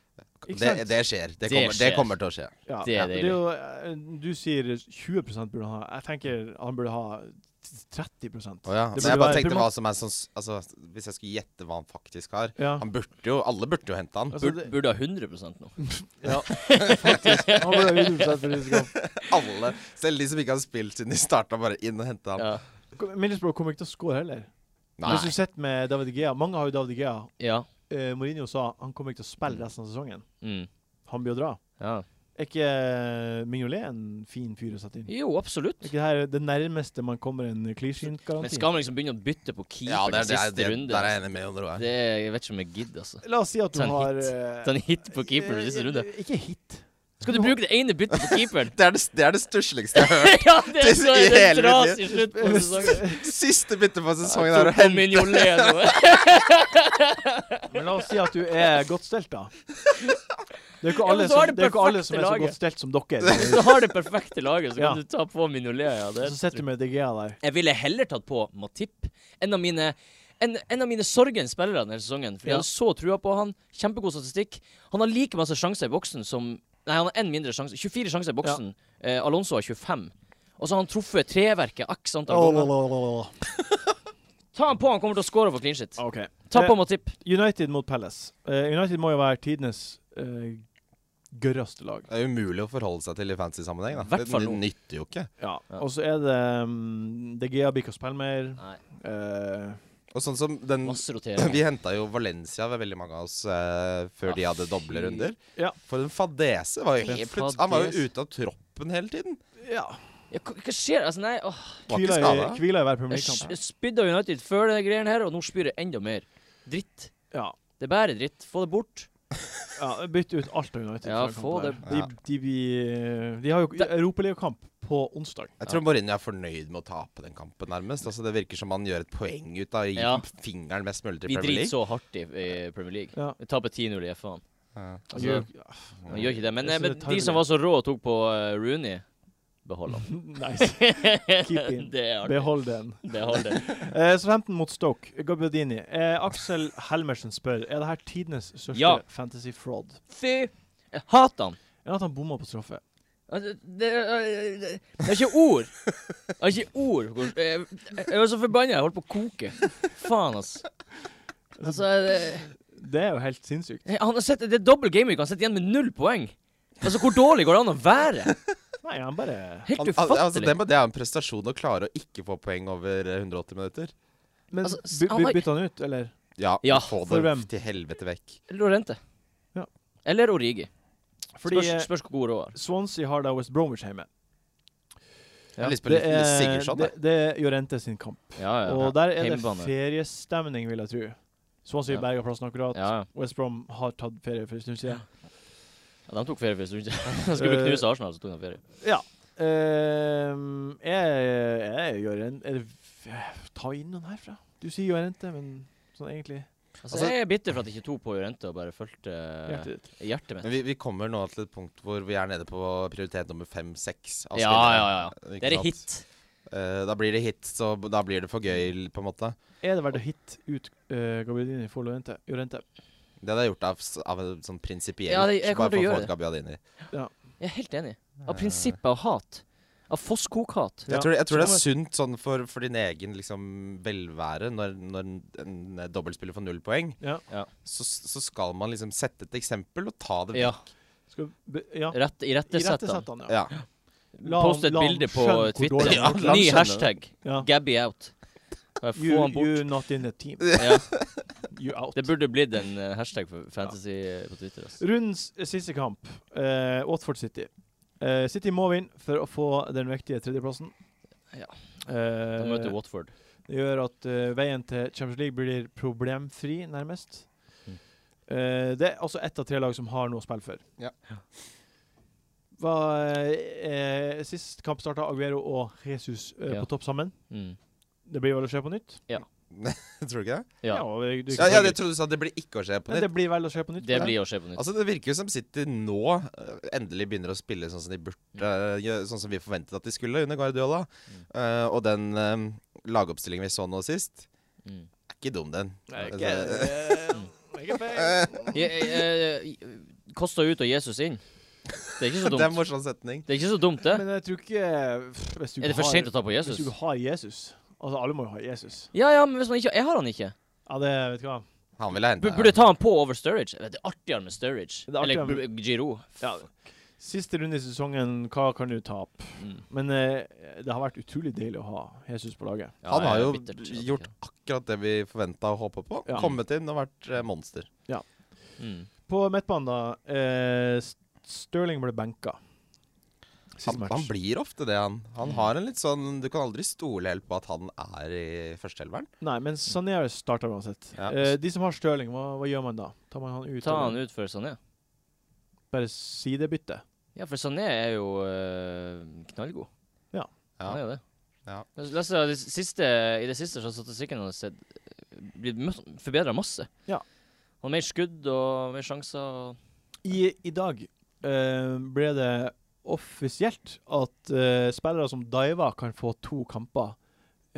Speaker 1: Ikke
Speaker 4: Det,
Speaker 1: sant?
Speaker 4: det skjer. Det
Speaker 2: Det
Speaker 4: kommer, det
Speaker 2: skjer.
Speaker 4: kommer til å skje.
Speaker 1: Ja.
Speaker 2: Det er
Speaker 1: Ja, men det er jo, eh, du sier 20 burde han ha. Jeg tenker han burde ha 30
Speaker 4: Å ja.
Speaker 1: Det
Speaker 4: Men jeg
Speaker 1: burde
Speaker 4: bare
Speaker 1: være
Speaker 4: tenkte
Speaker 1: primat-
Speaker 4: hva som er sånn s- Altså, hvis jeg skulle gjette hva han faktisk har
Speaker 1: Ja.
Speaker 4: Han burde jo Alle burde jo hente han.
Speaker 1: Altså,
Speaker 2: Burde,
Speaker 1: det-
Speaker 2: burde ha 100 nå.
Speaker 1: ja. Faktisk. Han ble 100 for risiko.
Speaker 4: Alle. Selv de som ikke har spilt siden de starta, bare inn og hente han.
Speaker 2: Ja.
Speaker 1: Middlesbrough kommer ikke til å score heller.
Speaker 4: Nei.
Speaker 1: Hvis du sitter med David Gea Mange har jo David Gea.
Speaker 2: ja.
Speaker 1: Eh, Mourinho sa han kommer ikke til å spille resten av sesongen.
Speaker 2: Mm.
Speaker 1: Han blir å dra.
Speaker 2: ja.
Speaker 1: Er ikke eh, Mignolet en fin fyr å sette inn?
Speaker 2: Jo, absolutt.
Speaker 1: Er ikke det her det nærmeste man kommer en
Speaker 2: Men
Speaker 1: clean-garanti?
Speaker 2: skal man liksom begynne å bytte på keeper
Speaker 4: Ja, det,
Speaker 2: i
Speaker 4: er- det, er-
Speaker 2: siste
Speaker 4: det,
Speaker 2: runde? altså.
Speaker 4: der er jeg enig med Jon Roar.
Speaker 2: Det er, jeg vet ikke om jeg gidder, altså.
Speaker 1: La oss si at du
Speaker 2: Ta en
Speaker 1: har
Speaker 2: hit.
Speaker 1: eh,
Speaker 2: Ta en hit på keeper i siste runde.
Speaker 1: eh, Ikke hit.
Speaker 2: Skal du bruke det ene byttet på keeperen?
Speaker 4: Det er det, det, er det stussligste jeg har hørt.
Speaker 2: ja, det
Speaker 4: Det
Speaker 2: er
Speaker 4: er
Speaker 2: så
Speaker 4: i
Speaker 2: det
Speaker 4: hele
Speaker 2: dras
Speaker 4: mitt
Speaker 2: i slutt på sesongen.
Speaker 4: Siste bytte på
Speaker 2: Jeg
Speaker 4: sesongen er å
Speaker 2: tok på
Speaker 4: hente
Speaker 2: Mignolet nå.
Speaker 1: Men la oss si at du er godt stelt, da. Det er jo ikke
Speaker 2: Ja, men
Speaker 1: alle,
Speaker 2: så
Speaker 1: som,
Speaker 2: har det
Speaker 1: det er jo ikke alle som er så
Speaker 2: perfekte laget.
Speaker 1: godt stelt som
Speaker 2: Hvis
Speaker 1: dere.
Speaker 2: du har det perfekte laget, så
Speaker 1: Ja.
Speaker 2: kan du ta på Mignolet. Ja, det
Speaker 1: Så sitter du med DGA der.
Speaker 2: Jeg ville heller tatt på Matip. En av mine en, en av mine sorgens spillere denne sesongen. For jeg
Speaker 1: Ja.
Speaker 2: hadde så trua på han. Kjempegod statistikk. Han har like masse sjanser i boksen som Nei, han har én mindre sjanse. 24 sjanser i boksen. Eh, Alonso har 25. Og så har han truffet treverket x antall
Speaker 1: Oh, la,
Speaker 2: ganger.
Speaker 1: la, la, la, la.
Speaker 2: Ta han på, han kommer til å score for clean shit.
Speaker 1: OK.
Speaker 2: Ta
Speaker 1: Eh,
Speaker 2: på Matip.
Speaker 1: United mot Palace. Eh, United må jo være tidenes eh, gørreste lag.
Speaker 4: Det er umulig å forholde seg til i fantasy-sammenheng. da.
Speaker 2: Hvert
Speaker 4: Det
Speaker 2: fall
Speaker 4: det
Speaker 2: nå.
Speaker 4: nytter jo ikke.
Speaker 1: Ja.
Speaker 2: Ja.
Speaker 1: Og så er det um, DGA blir ikke å spille mer.
Speaker 2: Nei,
Speaker 1: Eh,
Speaker 4: Og sånn som den
Speaker 2: masse
Speaker 4: Vi
Speaker 2: rotering.
Speaker 4: henta jo Valencia ved veldig mange av oss eh,
Speaker 2: Ja,
Speaker 4: før de hadde
Speaker 2: fy.
Speaker 4: doble runder.
Speaker 1: Ja.
Speaker 4: For en fadese var jo
Speaker 2: For en
Speaker 4: helt plutselig Han var jo
Speaker 2: fadese.
Speaker 4: ute av troppen hele tiden.
Speaker 1: ja.
Speaker 2: Ja, hva, hva skjer? Altså, nei, åh.
Speaker 4: Var ikke
Speaker 1: Hviler i,
Speaker 4: skada.
Speaker 1: hviler i hver Premier
Speaker 2: Jeg
Speaker 1: League-kamp.
Speaker 2: s- spydde av United før de greiene her, og nå spyr jeg enda mer. Dritt.
Speaker 1: Ja.
Speaker 2: Det er bare dritt. Få det bort.
Speaker 1: ja. Bytt ut alt av United. fra
Speaker 2: Ja,
Speaker 1: den kampen
Speaker 2: få
Speaker 4: det-
Speaker 1: her.
Speaker 4: Ja.
Speaker 1: De, de, blir- eh, de har jo
Speaker 2: Det-
Speaker 1: europaligakamp på onsdag.
Speaker 4: Jeg tror Mourinho er fornøyd med å tape den kampen, nærmest. Altså, det virker som han gjør et poeng ut av å gi
Speaker 2: Ja.
Speaker 4: fingeren mest mulig til
Speaker 2: Vi
Speaker 4: Premier
Speaker 2: driter
Speaker 4: League.
Speaker 2: så hardt i, i Premier League.
Speaker 1: Ja.
Speaker 2: Vi taper 10-0 i F-an.
Speaker 4: Ja.
Speaker 2: Altså,
Speaker 1: Gjør-
Speaker 2: han gjør ikke det. Men,
Speaker 1: Jeg
Speaker 2: eh,
Speaker 1: synes
Speaker 2: men
Speaker 1: det er
Speaker 2: de som
Speaker 1: tarvelig.
Speaker 2: var så rå og tok på eh, Rooney, behold han.
Speaker 1: nice. Keep in.
Speaker 2: det er artig.
Speaker 1: Behold den.
Speaker 2: Behold det.
Speaker 1: Eh, Southampton mot Stoke. Gabbiadini. Eh, Aksel Helmersen spør Er det her tidenes største
Speaker 2: Ja.
Speaker 1: fantasy fraud.
Speaker 2: Fy! Jeg hater han.
Speaker 1: Enn at han bomma på straffe.
Speaker 2: Altså, Det, det, det, det er ikke ord. Det er ikke ord. for hvor- Jeg, jeg var så forbanna. Jeg holdt på å koke. Faen, ass. Altså, det-
Speaker 1: Det er jo helt sinnssykt.
Speaker 2: Eh, han har sett, det er dobbel gameweek. Han sitter igjen med null poeng. Altså, Hvor dårlig går det an å være?
Speaker 1: Nei, han bare
Speaker 2: Helt
Speaker 4: Han, al- altså, det,
Speaker 2: ufattelig.
Speaker 4: må- det er jo en prestasjon å klare å ikke få poeng over eh, 180 minutter.
Speaker 1: Men
Speaker 2: Altså, s-
Speaker 1: by-
Speaker 2: han
Speaker 1: by-
Speaker 2: var-
Speaker 1: bytta han ut, eller?
Speaker 4: Ja,
Speaker 2: Ja,
Speaker 4: få
Speaker 1: for
Speaker 4: det
Speaker 1: hvem?
Speaker 4: til helvete vekk.
Speaker 2: Lorente.
Speaker 1: Ja.
Speaker 2: Eller Origi.
Speaker 1: Fordi
Speaker 2: spørs,
Speaker 1: eh,
Speaker 2: spørs hvor god råd er.
Speaker 1: Swansea har da West Bromwich hjemme.
Speaker 4: Jeg har lyst på
Speaker 1: Det
Speaker 4: litt
Speaker 1: er-
Speaker 4: Sigurdsson.
Speaker 1: det,
Speaker 4: jeg.
Speaker 1: det er Jorente sin kamp.
Speaker 2: Ja, sånn, ja.
Speaker 1: Og der er det
Speaker 2: Hjemmebane.
Speaker 1: feriestemning, vil jeg tro. Swansea
Speaker 2: Ja.
Speaker 1: berga plassen akkurat.
Speaker 2: ja, ja.
Speaker 1: West Brom har tatt ferie for en stund siden.
Speaker 2: Ja, de tok ferie for en stund siden. De skulle
Speaker 1: Eh,
Speaker 2: knuse Arsenal, så tok de ferie.
Speaker 1: Ja. Ehm, jeg, jeg gjør en er det, Ta inn noen herfra. Du sier jo rente, men sånn egentlig
Speaker 2: Altså, jeg er bitter for at jeg ikke tok på Jorente og bare fulgte eh,
Speaker 1: hjertet ditt.
Speaker 2: hjertet mitt.
Speaker 4: Men vi, vi kommer nå til et punkt hvor vi er nede på prioritet nummer fem-seks.
Speaker 2: Ja, ja, ja. ja. Det er hit.
Speaker 4: Eh, da blir det hit, så b- da blir det for gøy, på en måte.
Speaker 1: Er det verdt å hitte ut uh, Gabrielini for Lorente? Jorente?
Speaker 4: Det hadde jeg gjort av, s- av en sånn prinsipielt.
Speaker 2: Ja, det- jeg kommer
Speaker 4: bare
Speaker 2: til å
Speaker 4: for
Speaker 2: gjøre
Speaker 4: få ut Gabbiadini.
Speaker 2: Jeg er helt enig. Av prinsippet av hat. Av fosskokhat.
Speaker 1: Ja.
Speaker 4: Jeg tror, jeg tror det er
Speaker 2: Så-
Speaker 4: sunt sånn for, for din egen liksom, velvære når, når en, en dobbeltspiller får null poeng.
Speaker 1: Ja.
Speaker 2: Ja.
Speaker 4: Så, så skal man liksom sette et eksempel og ta det
Speaker 2: Ja.
Speaker 1: Skal be, ja.
Speaker 2: Rett, I
Speaker 1: Irettesett
Speaker 2: rettesett han.
Speaker 1: han, ja.
Speaker 4: Ja.
Speaker 1: La han-
Speaker 2: Post et
Speaker 1: la han
Speaker 2: bilde på
Speaker 1: skjønne hvor
Speaker 2: Twitter.
Speaker 1: dårlig
Speaker 2: Ja,
Speaker 1: han er.
Speaker 4: la han
Speaker 2: Ny
Speaker 4: skjønne
Speaker 2: hashtag.
Speaker 1: Ja.
Speaker 2: Gabby out. Bare Få
Speaker 1: You,
Speaker 2: han bort.
Speaker 1: you not in the team.
Speaker 2: Ja.
Speaker 1: You out.
Speaker 2: Det burde blitt en eh, hashtag for fantasy eh, på Twitter. ass.
Speaker 1: Rundens siste kamp, eh, Watford City. Eh, City må vinne for å få den viktige tredjeplassen.
Speaker 2: Ja.
Speaker 1: Eh,
Speaker 2: Da møter Watford.
Speaker 1: Det gjør at eh, veien til Champions League blir problemfri, nærmest.
Speaker 2: Mm.
Speaker 1: Eh, det er altså ett av tre lag som har noe å spille for.
Speaker 4: Ja.
Speaker 1: Hva, eh, eh, sist kamp starta Aguero og Jesus eh,
Speaker 2: Ja.
Speaker 1: på topp sammen.
Speaker 2: Mm.
Speaker 1: Det blir vel å skje på nytt?
Speaker 4: Tror du ikke det?
Speaker 2: Ja.
Speaker 1: det, det,
Speaker 4: Ja, ja, jeg trodde du sa det blir ikke å skje på
Speaker 1: Nei,
Speaker 4: nytt.
Speaker 1: det blir vel å skje på nytt.
Speaker 2: Det blir å skje på nytt.
Speaker 4: Altså Det virker jo som City nå eh, endelig begynner å spille sånn som de burde
Speaker 2: Mm.
Speaker 4: eh, gjø- Sånn som vi forventet at de skulle under Guardiola. Eh, og den eh, lagoppstillingen vi så nå sist,
Speaker 2: Mm.
Speaker 4: er ikke dum, den.
Speaker 1: Nei, ikke-
Speaker 4: Altså,
Speaker 1: eh, ikke feil.
Speaker 2: Kosta ut og Jesus inn. Det er ikke så
Speaker 4: Det er en
Speaker 2: dumt.
Speaker 4: morsom setning.
Speaker 2: Det er ikke så dumt, det.
Speaker 1: Men jeg tror ikke pff, hvis du
Speaker 2: Er det
Speaker 1: ikke
Speaker 2: for
Speaker 1: har-
Speaker 2: sent å ta på
Speaker 1: Hvis
Speaker 2: Jesus?
Speaker 1: du ikke har Jesus Altså, alle må jo ha Jesus.
Speaker 2: Ja, ja, men hvis man ikke Jeg har han ikke.
Speaker 1: Ja, det vet du hva.
Speaker 4: Han ville
Speaker 2: B
Speaker 4: hente
Speaker 2: burde jeg ta han på over Sturridge? Det er artigere med Sturridge.
Speaker 1: Det er artigere
Speaker 2: Eller
Speaker 1: med-
Speaker 2: B- Giroud.
Speaker 1: Ja. Siste runde i sesongen, hva kan du tape?
Speaker 2: Mm.
Speaker 1: Men eh, det har vært utrolig deilig å ha Jesus på laget.
Speaker 2: Ja,
Speaker 4: Han har
Speaker 2: jeg er
Speaker 4: jo
Speaker 2: bittert altså. at jeg
Speaker 4: gjort
Speaker 2: ikke-
Speaker 4: akkurat det vi forventa og håpa på.
Speaker 1: Ja.
Speaker 4: Kommet inn og vært eh, monster.
Speaker 2: mm.
Speaker 1: På midtbanen, da. Eh, S- Sterling ble benka. Sist
Speaker 4: Han,
Speaker 1: match.
Speaker 4: han blir ofte det, han. Han
Speaker 2: Mm.
Speaker 4: har en litt sånn Du kan aldri stole helt på at han er i førsteelveren.
Speaker 1: Nei, men Sané starta uansett.
Speaker 4: Ja.
Speaker 1: Eh, de som har Sterling, hva, hva gjør man da? Tar man han ut?
Speaker 2: Ta
Speaker 1: eller
Speaker 2: han ut før Sané.
Speaker 1: Bare sidebytte?
Speaker 2: Ja, for Sané er jo øh, knallgod.
Speaker 4: Ja.
Speaker 2: Han er jo det.
Speaker 4: Ja.
Speaker 2: Jeg leste at det siste, I det siste så har statistikken hans sett- eh, blitt forbedra masse.
Speaker 1: Ja.
Speaker 2: Og mer skudd og mer sjanser. og-
Speaker 1: I, i dag eh, ble det offisielt at eh, spillere som diver kan få to kamper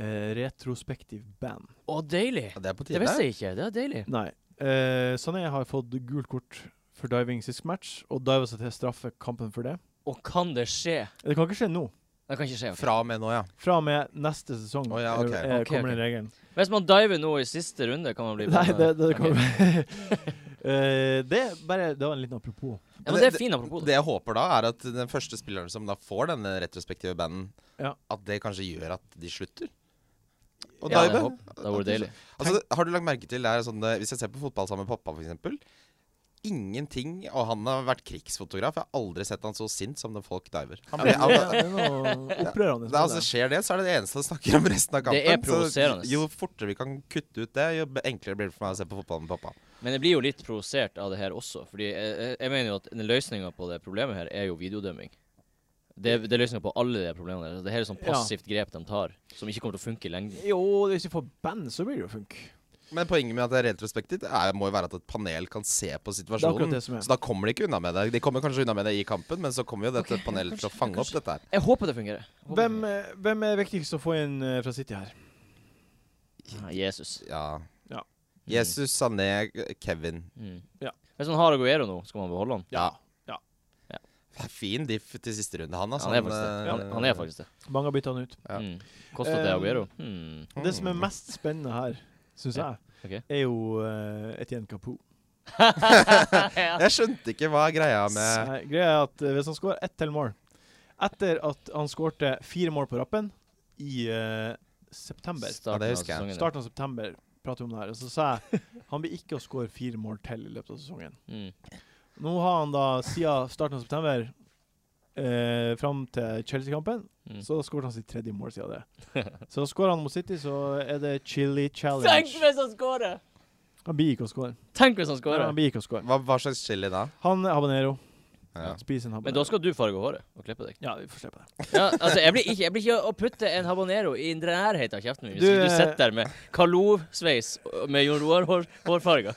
Speaker 1: eh, retrospektiv band.
Speaker 2: Å, deilig!
Speaker 4: Ja, det er på
Speaker 2: Det
Speaker 4: tide.
Speaker 2: visste jeg ikke. Det er deilig.
Speaker 1: Nei. Eh, Sané har fått gult kort for diving sist match, og diva seg til straffe kampen for det.
Speaker 2: Og kan det skje?
Speaker 1: Det kan ikke skje nå.
Speaker 2: Det kan ikke skje. ok.
Speaker 4: Fra og med nå, ja.
Speaker 1: Fra og med neste sesong
Speaker 4: Å ja,
Speaker 1: eh,
Speaker 4: ok.
Speaker 1: eh,
Speaker 2: Ok,
Speaker 1: kommer
Speaker 2: ok.
Speaker 1: den regelen.
Speaker 2: Hvis man diver nå i siste runde, kan man bli
Speaker 1: Nei, det, det,
Speaker 2: Ok.
Speaker 1: kommer Eh, Det er bare Det var en liten apropos.
Speaker 2: Ja, men det er fin apropos.
Speaker 4: Det jeg håper da, er at den første spilleren som da får denne retrospektive banden,
Speaker 1: Ja.
Speaker 4: at det kanskje gjør at de slutter. Og
Speaker 2: Ja,
Speaker 4: dive.
Speaker 2: jeg håper. Det hadde vært deilig.
Speaker 4: Altså, har du lagt merke til det er sånn, eh, Hvis jeg ser på fotball sammen med pappa, f.eks. Ingenting Og han har vært krigsfotograf. Jeg har aldri sett han så sint som når folk diver. Han blir,
Speaker 1: Ja, men
Speaker 4: han,
Speaker 1: det, det er noe opprørende.
Speaker 4: det, er altså, skjer det, så er det det eneste han snakker om resten av kampen.
Speaker 2: Det er
Speaker 4: Så
Speaker 2: provoserende.
Speaker 4: Jo fortere vi kan kutte ut det, jo be- enklere blir det for meg å se på fotball med pappa.
Speaker 2: Men jeg blir jo litt provosert av det her også. Fordi jeg, jeg- jeg mener jo at løsninga på det problemet her er jo videodømming. Det, er- det er løsninga på alle de problemene. der. Det her er sånn
Speaker 1: Ja.
Speaker 2: passivt grep de tar, som ikke kommer til å funke i lengden.
Speaker 1: jo, hvis vi får band, så blir det jo funk.
Speaker 4: Men poenget med at det er retrospektivt, er, må jo være at et panel kan se på
Speaker 1: Det er akkurat
Speaker 4: situasjonen.
Speaker 1: det som er.
Speaker 4: Så da kommer de ikke unna med det. De kommer kanskje unna med det i kampen, men så kommer jo dette
Speaker 2: Ok,
Speaker 4: panelet til å
Speaker 2: kanskje-
Speaker 4: fange opp
Speaker 2: kanskje.
Speaker 4: dette her.
Speaker 2: Jeg håper det fungerer. Jeg håper
Speaker 1: Hvem,
Speaker 2: det
Speaker 1: eh, hvem er viktigst å få inn eh, fra City her?
Speaker 2: fungerer. Ah, Jesus.
Speaker 4: Ja.
Speaker 1: Ja.
Speaker 4: Jesus, Sané, Kevin.
Speaker 2: Mm.
Speaker 1: Ja.
Speaker 2: Hvis han har Aguero nå, skal man beholde han?
Speaker 4: Ja.
Speaker 1: Ja.
Speaker 2: Ja.
Speaker 4: Det er Fin diff til siste runde, han. Altså.
Speaker 2: Han er faktisk det. Han, han er faktisk det.
Speaker 1: Mange har bytta han ut.
Speaker 4: Ja.
Speaker 2: Mm. Kosta det
Speaker 1: Eh,
Speaker 2: Aguero? Hmm.
Speaker 1: Det som er
Speaker 4: Mm.
Speaker 1: mest spennende her, syns
Speaker 2: Ja,
Speaker 1: jeg,
Speaker 2: ok.
Speaker 1: er jo eh, Etienne Capoe.
Speaker 2: ja.
Speaker 4: Jeg skjønte ikke hva greia med
Speaker 1: Nei, Greia er at eh, hvis han skårer ett til mål Etter at han skårte fire mål på rappen i eh, september
Speaker 2: Starten
Speaker 4: det
Speaker 2: av
Speaker 4: husker jeg.
Speaker 2: sesongen, ja.
Speaker 1: Starten av september prater vi om det her. Og så sa jeg han blir ikke å skåre fire mål til i løpet av sesongen.
Speaker 2: Mm.
Speaker 1: Nå har han da siden starten av september eh, fram til Chelsea-kampen,
Speaker 2: Mm.
Speaker 1: så skåret han sitt tredje mål siden det. Så skårer han mot City, så er det chili
Speaker 2: Tenk
Speaker 1: challenge.
Speaker 2: hvis han scorer!
Speaker 1: Han blir ikke å skåre.
Speaker 2: Tenk hvis
Speaker 1: Ja,
Speaker 2: han
Speaker 1: han
Speaker 2: scorer!
Speaker 1: blir ikke å skåre.
Speaker 4: hva, hva slags chili da?
Speaker 1: Han er habanero.
Speaker 4: Ja.
Speaker 1: Spis en
Speaker 2: Men
Speaker 1: habanero.
Speaker 2: da skal du farge håret og klippe deg.
Speaker 1: Ja, vi får se på det.
Speaker 2: Ja, altså, jeg blir ikke, jeg blir ikke å putte en habanero i nærheten av kjeften min hvis
Speaker 1: Du,
Speaker 2: ikke du
Speaker 1: eh,
Speaker 2: sitter der med Kalov-sveis og- med Jon Roar hår, hårfarger.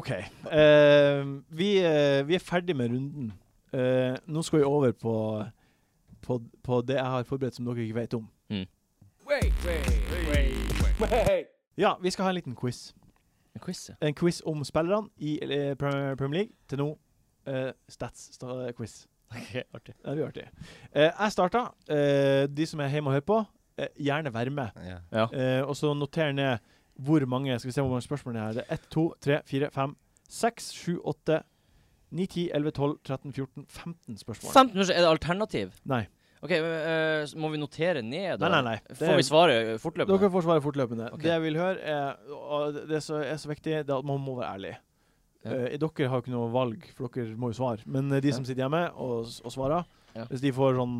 Speaker 1: OK. Eh, vi, eh, vi er ferdig med runden. Eh, nå skal vi over på, på, på det jeg har forberedt som dere ikke vet om. Ja, vi skal ha en liten quiz.
Speaker 2: En quiz, ja.
Speaker 1: En quiz om spillerne i eh, Premier Premier League til nå. Eh, Stats-quiz.
Speaker 2: Ok, artig.
Speaker 1: Det blir artig. Eh, jeg starta. Eh, de som er hjemme og hører på, eh, gjerne vær med.
Speaker 4: Ja.
Speaker 1: Eh, og så noter ned hvor mange Skal vi se hvor mange spørsmål det er. Det er 1, 2, 3, 4, 5, 6, 7, 8, 9, 10, 11, 12, 13, 14, 15 spørsmål.
Speaker 2: 15 minutter, er det alternativ?
Speaker 1: Nei.
Speaker 2: Ok, men, eh, så Må vi notere ned? da?
Speaker 1: Nei, nei, nei. Det
Speaker 2: Får
Speaker 1: er-
Speaker 2: vi svaret
Speaker 1: Dere
Speaker 2: fortløpende?
Speaker 1: får svare fortløpende.
Speaker 2: Ok.
Speaker 1: Det jeg vil høre, er, og det som er så viktig, det er at man må være ærlig.
Speaker 2: Ja.
Speaker 1: Eh, dere har jo ikke noe valg, for dere må jo svare. Men eh, de som sitter hjemme og, s- og svarer,
Speaker 2: Ja.
Speaker 1: hvis de får sånn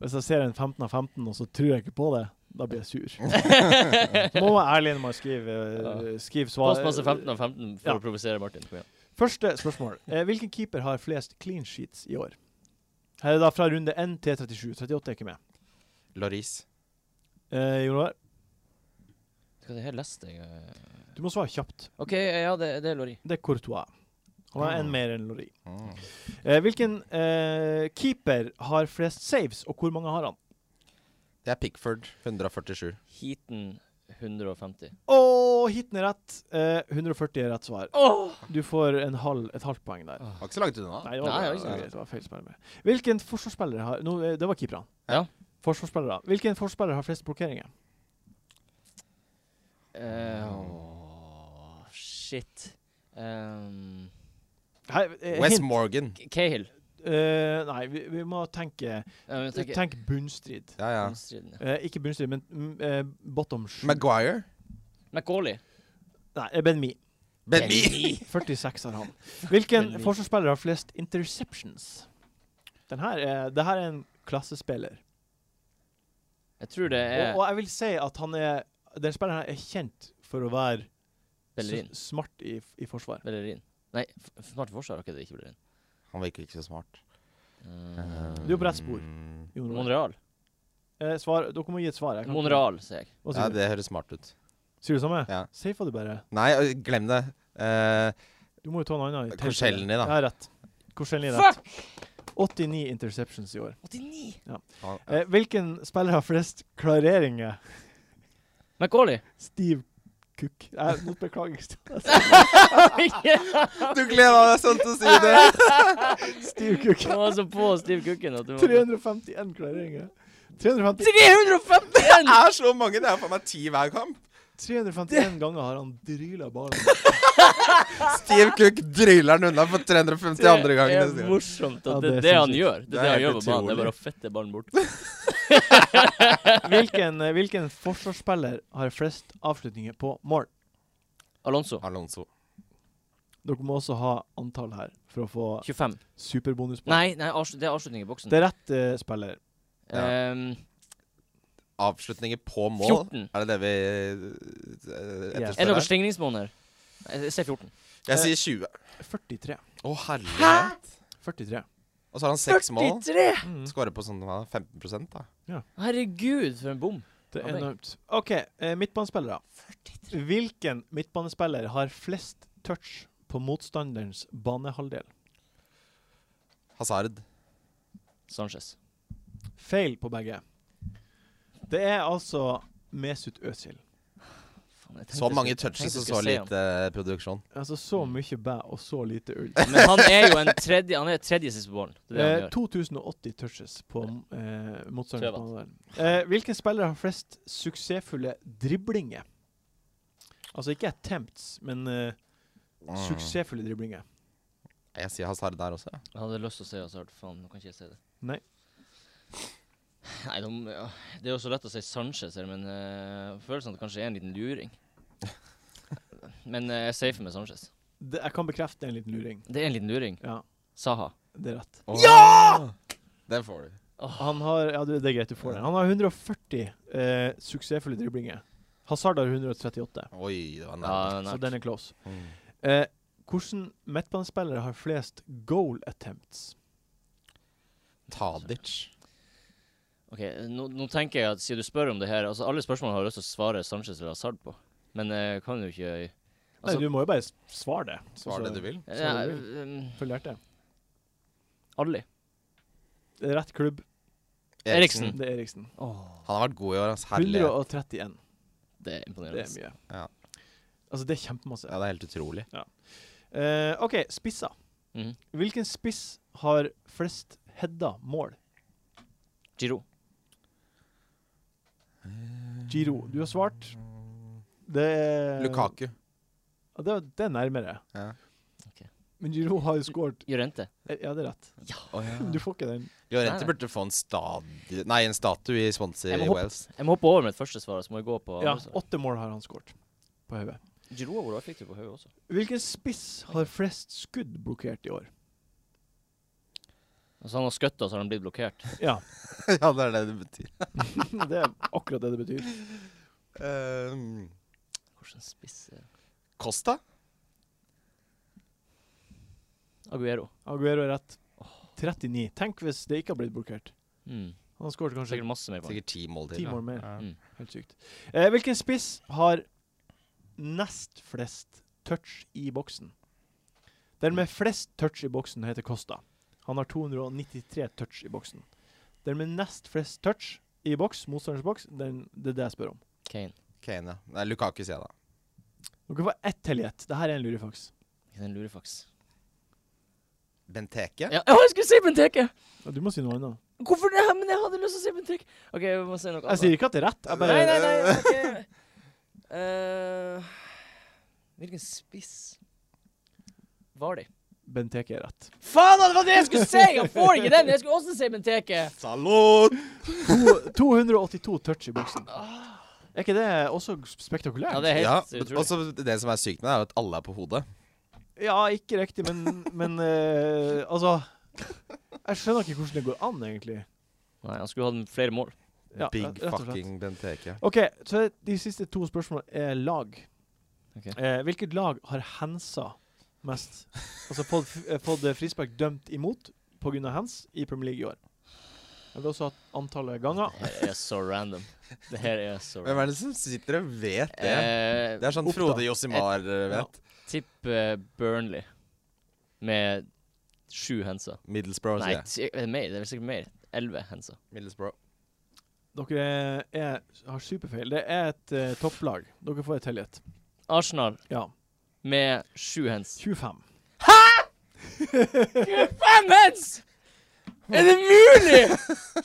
Speaker 1: Hvis jeg ser en 15 av 15, og så tror jeg ikke på det, da blir jeg sur. må være ærlig når man skriver,
Speaker 2: Ja.
Speaker 1: skriver svar.
Speaker 2: Postmasse 15 av 15 for
Speaker 1: Ja.
Speaker 2: å provosere Martin. Kom igjen.
Speaker 1: Første spørsmål. Eh, hvilken keeper har flest clean sheets i år? Her er det da fra runde 1 til 37. 38 er ikke med.
Speaker 4: Loris.
Speaker 1: Eh, Jon Roar,
Speaker 2: Hva er det her leste jeg eh?
Speaker 1: du må svare kjapt.
Speaker 2: OK, ja, det, det er Lori.
Speaker 1: Det er Courtois. Han har én
Speaker 4: Mm.
Speaker 1: mer enn Lori.
Speaker 4: Mm.
Speaker 1: Eh, hvilken eh, keeper har flest saves, og hvor mange har han?
Speaker 4: Det er Pickford. 147.
Speaker 2: Heaton 150.
Speaker 1: Og hiten er rett. Eh, 140 er rett svar.
Speaker 2: Åh!
Speaker 1: Du får en halv, et halvt poeng der.
Speaker 4: Var ikke så langt unna.
Speaker 1: Nei, det var,
Speaker 2: Nei,
Speaker 1: det
Speaker 2: det var ikke
Speaker 1: det var feil spiller med. Hvilken forsvarsspiller har nå, eh, Det var keeperne.
Speaker 2: Ja.
Speaker 1: Forsvarsspillere. Hvilken forsvarsspiller har flest blokkeringer?
Speaker 2: Eh, åh, shit. Um,
Speaker 1: Her, eh,
Speaker 4: West
Speaker 1: hint.
Speaker 4: Morgan.
Speaker 2: K- Cahill.
Speaker 1: Eh, nei, vi, vi må tenke
Speaker 2: Eh, men tenker-
Speaker 1: Tenk bunnstrid.
Speaker 4: Ja, ja.
Speaker 2: Striden, ja.
Speaker 1: Eh, ikke bunnstrid, men mm, eh, bottom sju.
Speaker 4: Maguire.
Speaker 2: Macaulay.
Speaker 1: Nei, eh, Ben Mi.
Speaker 4: Ben Mee.
Speaker 2: Benny.
Speaker 1: 46 har han. Hvilken
Speaker 2: Ben Mi.
Speaker 1: forsvarsspiller har flest interceptions? Den her er, det her er en klassespiller.
Speaker 2: Jeg tror det er
Speaker 1: Og, og jeg vil si at han er Den spilleren her er kjent for å være
Speaker 2: Bellerin.
Speaker 1: s- smart i, i forsvar.
Speaker 2: Bellerin. Nei, f- smart forsvar. Ok, det er ikke Bellerin.
Speaker 4: Han virker ikke så smart.
Speaker 2: Eh,
Speaker 1: Du er på rett spor.
Speaker 4: Mm.
Speaker 1: Jon Roar.
Speaker 2: Monreal.
Speaker 1: Eh, svar, dere må gi et svar. jeg kan ikke-
Speaker 2: Monreal, sier jeg.
Speaker 1: Hva
Speaker 4: Ja,
Speaker 1: sier, du?
Speaker 4: det høres smart ut.
Speaker 1: sier du samme?
Speaker 4: Ja.
Speaker 1: Si hva du bare
Speaker 4: Nei, ø, glem det. Eh,
Speaker 1: Du må jo ta en annen. i tilfelle.
Speaker 4: Korselny, da.
Speaker 1: Ja, rett. Korselny er rett.
Speaker 2: Fuck!
Speaker 1: 89 interceptions i år.
Speaker 2: 89!
Speaker 4: han-
Speaker 1: Eh, hvilken spiller har flest klareringer?
Speaker 2: Macaulay.
Speaker 1: Steve Cook. Eh, nå beklager jeg.
Speaker 4: du gleda deg sånn til å si det!
Speaker 1: Steve Cook.
Speaker 2: Han var så altså på Steve Cooken at du var
Speaker 1: 351 klareringer. 350,
Speaker 2: 351!
Speaker 4: Det er så mange! Det er faen meg ti hver kamp.
Speaker 1: 351 ganger har han dryla ballen.
Speaker 4: Steve Cook dryller den unna for 350 andre gang.
Speaker 2: Det
Speaker 4: neste
Speaker 2: er
Speaker 4: gang.
Speaker 2: morsomt
Speaker 1: Ja, det
Speaker 2: at det
Speaker 1: er
Speaker 2: er det han
Speaker 1: sinnssykt.
Speaker 2: gjør. Det er
Speaker 4: Det er
Speaker 2: det han
Speaker 4: helt
Speaker 2: gjør på banen. Det er bare å fette ballen bort.
Speaker 1: Hvilken, eh, hvilken forsvarsspiller har flest avslutninger på mål?
Speaker 2: Alonso.
Speaker 4: Alonso.
Speaker 1: Dere må også ha antall her for å få
Speaker 2: 25.
Speaker 1: superbonuspoeng.
Speaker 2: Nei, nei avslut- det er avslutning i boksen.
Speaker 1: Det er rett eh, spiller.
Speaker 4: Ja.
Speaker 2: Ehm,
Speaker 4: Avslutninger på mål.
Speaker 2: 14.
Speaker 4: Er det det vi eh,
Speaker 1: Yes.
Speaker 2: er det
Speaker 4: etterspør?
Speaker 2: noen
Speaker 4: her?
Speaker 2: slingringsmåneder? Nei, Jeg sier 14.
Speaker 4: Jeg sier 20.
Speaker 1: 43.
Speaker 4: Å, herlighet.
Speaker 1: 43.
Speaker 4: Og så har han seks mål.
Speaker 1: Mm.
Speaker 4: Skårer på sånn hva, 15 da.
Speaker 2: Herregud, for en bom.
Speaker 1: Det er
Speaker 2: Ja, det-
Speaker 1: enormt. OK, eh, midtbanespillere. Hvilken midtbanespiller har flest touch på motstanderens banehalvdel?
Speaker 4: Hazard.
Speaker 2: Sanchez.
Speaker 1: Feil på begge. Det er altså Mesut Özil.
Speaker 2: Faen, jeg tenkte
Speaker 4: Så
Speaker 2: jeg
Speaker 4: mange
Speaker 2: skulle- tenkte
Speaker 4: touches og
Speaker 2: jeg
Speaker 4: så
Speaker 2: skulle si han.
Speaker 4: lite produksjon.
Speaker 1: Altså så
Speaker 2: Mm.
Speaker 1: mye bæ og så lite ull.
Speaker 2: Men han er jo en tredje Han er tredje sist på ballen. Det er det han
Speaker 1: Eh,
Speaker 2: gjør.
Speaker 1: 2080 touches på eh, motstanderens
Speaker 2: Tøvete.
Speaker 1: banehalvdel. Eh, hvilken spiller har flest suksessfulle driblinger? Altså ikke attempts, men eh,
Speaker 2: Mm.
Speaker 1: suksessfulle driblinger.
Speaker 4: Mm. Jeg sier Hazard der også. ja.
Speaker 2: Jeg hadde lyst til å si Hazard. Faen, nå kan ikke jeg si det.
Speaker 1: Nei.
Speaker 2: Nei, de, ja. Det er jo så lett å si Sanchez her, men eh, følelsen av at det kanskje er en liten luring. men eh, jeg er safe med Sanchez.
Speaker 1: Det, jeg kan bekrefte en liten luring.
Speaker 2: Det er en liten luring.
Speaker 1: Ja,
Speaker 2: Saha.
Speaker 1: det er rett.
Speaker 4: Ja! Den får du.
Speaker 1: Han har ja, du- det er greit du får den. Han har 140 eh, suksessfulle driblinger. Hazard har 138,
Speaker 4: Oi, det var
Speaker 2: Ja,
Speaker 4: nærmest.
Speaker 2: nei.
Speaker 1: så den er close.
Speaker 4: Mm.
Speaker 1: Eh, hvordan midtbanespillere har flest goal attempts?
Speaker 4: Tadic.
Speaker 2: Ok, nå, nå tenker jeg at siden du spør om det her Altså, alle spørsmål har jeg lyst til å svare Sanchez eller Hazard på, men eh, jeg kan jo ikke Altså-
Speaker 1: Nei, du må jo bare s- svare det.
Speaker 4: Svar det du vil.
Speaker 2: ja,
Speaker 1: Svarer
Speaker 2: um,
Speaker 1: Følg hjertet.
Speaker 2: Alle.
Speaker 1: Rett klubb,
Speaker 2: Eriksen.
Speaker 1: det er Eriksen.
Speaker 4: Han har vært god i år. ass. Mm. Herlighet.
Speaker 1: 131.
Speaker 2: Det er
Speaker 1: Det
Speaker 2: imponerende.
Speaker 1: er mye.
Speaker 4: Ja.
Speaker 1: Altså, det er kjempemasse.
Speaker 4: Ja, det er helt utrolig.
Speaker 1: Eh, OK, spisser.
Speaker 2: Mhm.
Speaker 1: Hvilken spiss har flest heada mål?
Speaker 2: Giro. Eh.
Speaker 1: Giro. Du har svart. Det er
Speaker 4: Eh. Lukaku.
Speaker 1: Ja, det, er- det er nærmere.
Speaker 4: Ja.
Speaker 2: Ok.
Speaker 1: Men Giro har jo skåret
Speaker 2: Jorente.
Speaker 1: Eh, Ja, det er rett. Du får ikke den.
Speaker 4: Llorente
Speaker 2: Nei, nei.
Speaker 4: burde få en stadie Nei, en statue i Swansea
Speaker 2: Jeg må
Speaker 4: i
Speaker 2: hoppe-
Speaker 4: Wales.
Speaker 2: Jeg må hoppe over mitt første svar, så må jeg gå på
Speaker 1: Ja,
Speaker 2: andre svar.
Speaker 1: Åtte mål har han skåret på hodet.
Speaker 2: Giro har vært effektiv på hodet også.
Speaker 1: Hvilken spiss har flest skudd blokkert i år?
Speaker 2: Altså, han har skutt, og så har han blitt blokkert.
Speaker 1: Ja,
Speaker 4: ja, det er det det betyr.
Speaker 1: det er akkurat det det betyr.
Speaker 4: Ehm,
Speaker 2: Hvordan spiss er det?
Speaker 4: Costa?
Speaker 2: Aguero.
Speaker 1: Aguero er rett. 39. Tenk hvis det ikke har blitt blokkert.
Speaker 2: Mm.
Speaker 1: Han har skåret kanskje
Speaker 2: Sikkert masse mer på
Speaker 4: Sikkert ti mål til.
Speaker 1: Ti
Speaker 4: da.
Speaker 1: mål mer.
Speaker 4: Ja.
Speaker 2: Mm.
Speaker 1: Helt sykt. Eh, hvilken spiss har nest flest touch i boksen? Den med flest touch i boksen heter Costa. Han har 293 touch i boksen. Den med nest flest touch i boks, motstanderens boks, den, det er det jeg spør om.
Speaker 2: Kane.
Speaker 4: Kane, ja. Nei, Lukaku, sier jeg da.
Speaker 1: Dere får ett til gjett. Dette er en lurifaks.
Speaker 2: Det er en lurefaks.
Speaker 4: Benteke?
Speaker 2: Ja, å, jeg skulle si Benteke!
Speaker 1: Ja, du må si noe annet.
Speaker 2: Hvorfor det? Men jeg hadde lyst til å si Benteke. OK, vi må si noe
Speaker 1: Jeg
Speaker 2: annet.
Speaker 1: sier ikke at det er rett. Jeg bare
Speaker 2: Nei, nei, nei. ok. Eh, hvilken spiss var de?
Speaker 1: Benteke er rett.
Speaker 2: Faen, det var det jeg skulle si! Jeg får ikke den! Jeg skulle også si Benteke.
Speaker 4: Salut!
Speaker 1: To- 282 touch i boksen. Ah. Er ikke det også spektakulært?
Speaker 2: Ja, det er helt
Speaker 4: Ja,
Speaker 2: utrolig.
Speaker 4: og så det som er sykt med det, er jo at alle er på hodet.
Speaker 1: Ja, ikke riktig, men, men eh, Altså Jeg skjønner ikke hvordan det går an, egentlig.
Speaker 2: Nei, han skulle hatt flere mål.
Speaker 1: Ja,
Speaker 4: Big
Speaker 1: rett- rett og slett.
Speaker 4: fucking Benteke.
Speaker 1: OK, så de siste to spørsmålene er lag.
Speaker 2: Ok.
Speaker 1: Eh, hvilket lag har hensa mest? Altså fått, f- eh, fått eh, frispark dømt imot pga. hands i Premier League i år. Jeg vil også ha antallet ganger.
Speaker 2: Det her er så random. Det her er så
Speaker 4: Hvem
Speaker 2: random.
Speaker 4: er det som sitter og vet det?
Speaker 2: Eh,
Speaker 4: Det er sånn
Speaker 1: Oppda.
Speaker 4: Frode Josimar eh, vet.
Speaker 2: Tipp eh, Burnley med sju henser.
Speaker 4: Middlesbrough,
Speaker 2: Nei,
Speaker 4: sier jeg.
Speaker 2: ti- eh, mer. Det er vel sikkert mer. Elleve henser.
Speaker 4: Middlesbrough.
Speaker 1: Dere er, har superfeil. Det er et eh, topplag. Dere får et tillit.
Speaker 2: Arsenal
Speaker 1: Ja.
Speaker 2: med sju hens.
Speaker 1: 25.
Speaker 2: Fem hens! Er det mulig?!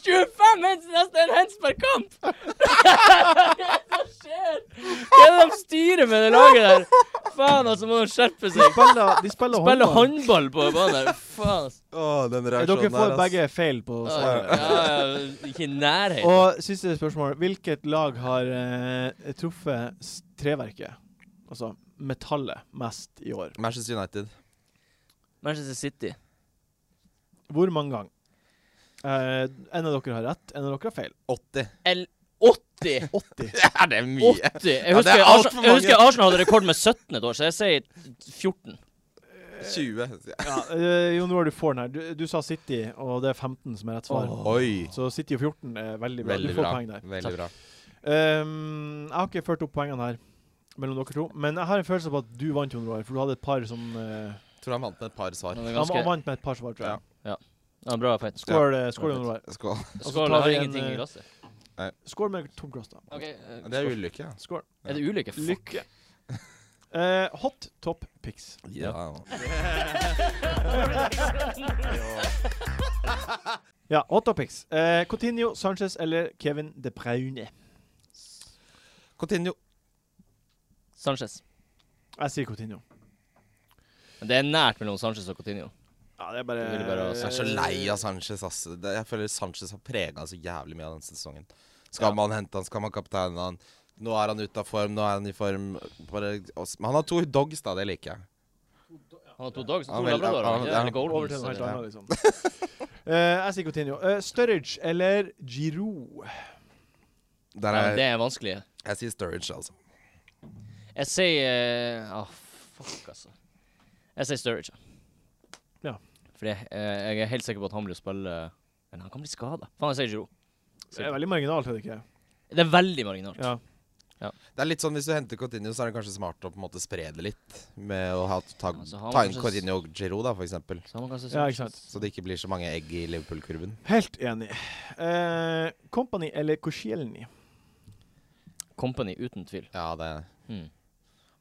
Speaker 2: 25 hens, nesten en hens per kamp! Hva er det som skjer? Hva er det de styrer med det laget der? Faen, altså, må de skjerpe
Speaker 1: De
Speaker 2: seg.
Speaker 1: spiller, de spiller,
Speaker 2: Spiller
Speaker 1: håndball.
Speaker 2: håndball på banen der. Faen, altså.
Speaker 4: Å, den
Speaker 1: Eh,
Speaker 4: reaksjonen
Speaker 1: Dere
Speaker 4: sånn der,
Speaker 1: får
Speaker 4: ass.
Speaker 1: begge feil på
Speaker 2: Ja,
Speaker 1: svaret.
Speaker 2: ja, ja, ikke i nærheten.
Speaker 1: Og siste spørsmål. Hvilket lag har eh, truffet s- treverket, altså metallet, mest i år?
Speaker 4: Manchester United.
Speaker 2: Manchester City.
Speaker 1: Hvor mange ganger? Eh, en av dere har rett, en av dere har feil.
Speaker 4: 80.
Speaker 2: L 80.
Speaker 1: 80.
Speaker 4: Er det mye?
Speaker 2: 80. Jeg
Speaker 4: Ja, det
Speaker 2: husker,
Speaker 4: er alt for
Speaker 2: Arsenal, jeg
Speaker 4: mange.
Speaker 2: husker Arsenal hadde rekord med 17 et år, så jeg sier 14.
Speaker 4: 20. sier jeg.
Speaker 1: Eh, Ja, eh, jo, nå har du får den her. Du, du sa City, og det er 15 som er rett svar.
Speaker 4: Oi.
Speaker 1: Så City og 14 er veldig bra.
Speaker 4: Veldig
Speaker 1: du får
Speaker 4: bra.
Speaker 1: poeng der.
Speaker 4: Veldig bra.
Speaker 1: Ehm, jeg har ikke ført opp poengene her mellom dere to, men jeg har en følelse på at du vant, Jon Roar, for du hadde et par som eh,
Speaker 4: Tror han vant med et par svar.
Speaker 2: Det er
Speaker 1: Han
Speaker 2: ganske
Speaker 1: han vant med et par svar, tror jeg.
Speaker 2: ja, bra fight. Skål.
Speaker 1: Skål, eh, skål Jon Roar.
Speaker 4: Skål.
Speaker 1: så
Speaker 2: Skål.
Speaker 1: tar
Speaker 2: Jeg har
Speaker 1: vi en,
Speaker 2: ingenting
Speaker 1: eh,
Speaker 2: i glasset.
Speaker 1: Skål med tom cross, da.
Speaker 4: Det er ulykke, ja.
Speaker 1: Skål.
Speaker 2: Er det ulykke? Fuck.
Speaker 1: Lykke. Eh, hot top pics.
Speaker 4: ja.
Speaker 1: Ja, hot top pics. Eh, Coutinho, Sanchez eller Kevin De Bruyne?
Speaker 4: Coutinho.
Speaker 2: Sanchez.
Speaker 1: Jeg sier Coutinho.
Speaker 2: Men det er nært mellom Sanchez og Coutinho.
Speaker 1: Ja, det er bare,
Speaker 2: Jeg vil bare også-
Speaker 4: altså, Jeg er så lei av Sanchez. Ass. Det- Jeg føler Sanchez har prega så jævlig mye av denne sesongen. Skal man hente han, skal man kapteine han. Nå er han ute av form, nå er han i form. Bare, oss- men han har to dogs, da. Det liker jeg.
Speaker 2: Han har to dogs og
Speaker 4: Ja,
Speaker 2: to
Speaker 4: vel, ja,
Speaker 2: labradorer.
Speaker 4: ja.
Speaker 2: Eller
Speaker 1: Over
Speaker 2: goldens.
Speaker 1: til noe helt
Speaker 2: eller-
Speaker 1: annet, liksom. Eh, jeg sier Coutinho. Eh, Sturridge eller Giroud?
Speaker 4: Der
Speaker 2: Ja, men
Speaker 4: er,
Speaker 2: Det er vanskelig.
Speaker 4: jeg sier Sturridge, altså.
Speaker 2: Jeg sier Åh, fuck, altså. Jeg sier Sturridge.
Speaker 1: Ja.
Speaker 2: For jeg, eh, jeg er helt sikker på at han blir å spille eh, Men han kan bli skada. Faen, jeg sier Giroud.
Speaker 1: Det er Eh, veldig marginalt, er det ikke?
Speaker 2: Det er veldig marginalt.
Speaker 1: Ja.
Speaker 4: Det er litt sånn, Hvis du henter Coutinho, så er det kanskje smart å på en måte spre det litt. Med å ha, ta,
Speaker 2: Altså, han
Speaker 4: ta inn
Speaker 2: kanskje-
Speaker 4: Coutinho og Giroud, da, for eksempel.
Speaker 2: Så han må kanskje
Speaker 1: Ja, ikke sant.
Speaker 4: Så det ikke blir så mange egg i Liverpool-kurven.
Speaker 1: Helt enig. Eh, Company eller Koscielny?
Speaker 2: Company, uten tvil.
Speaker 4: Ja, det
Speaker 2: Mm.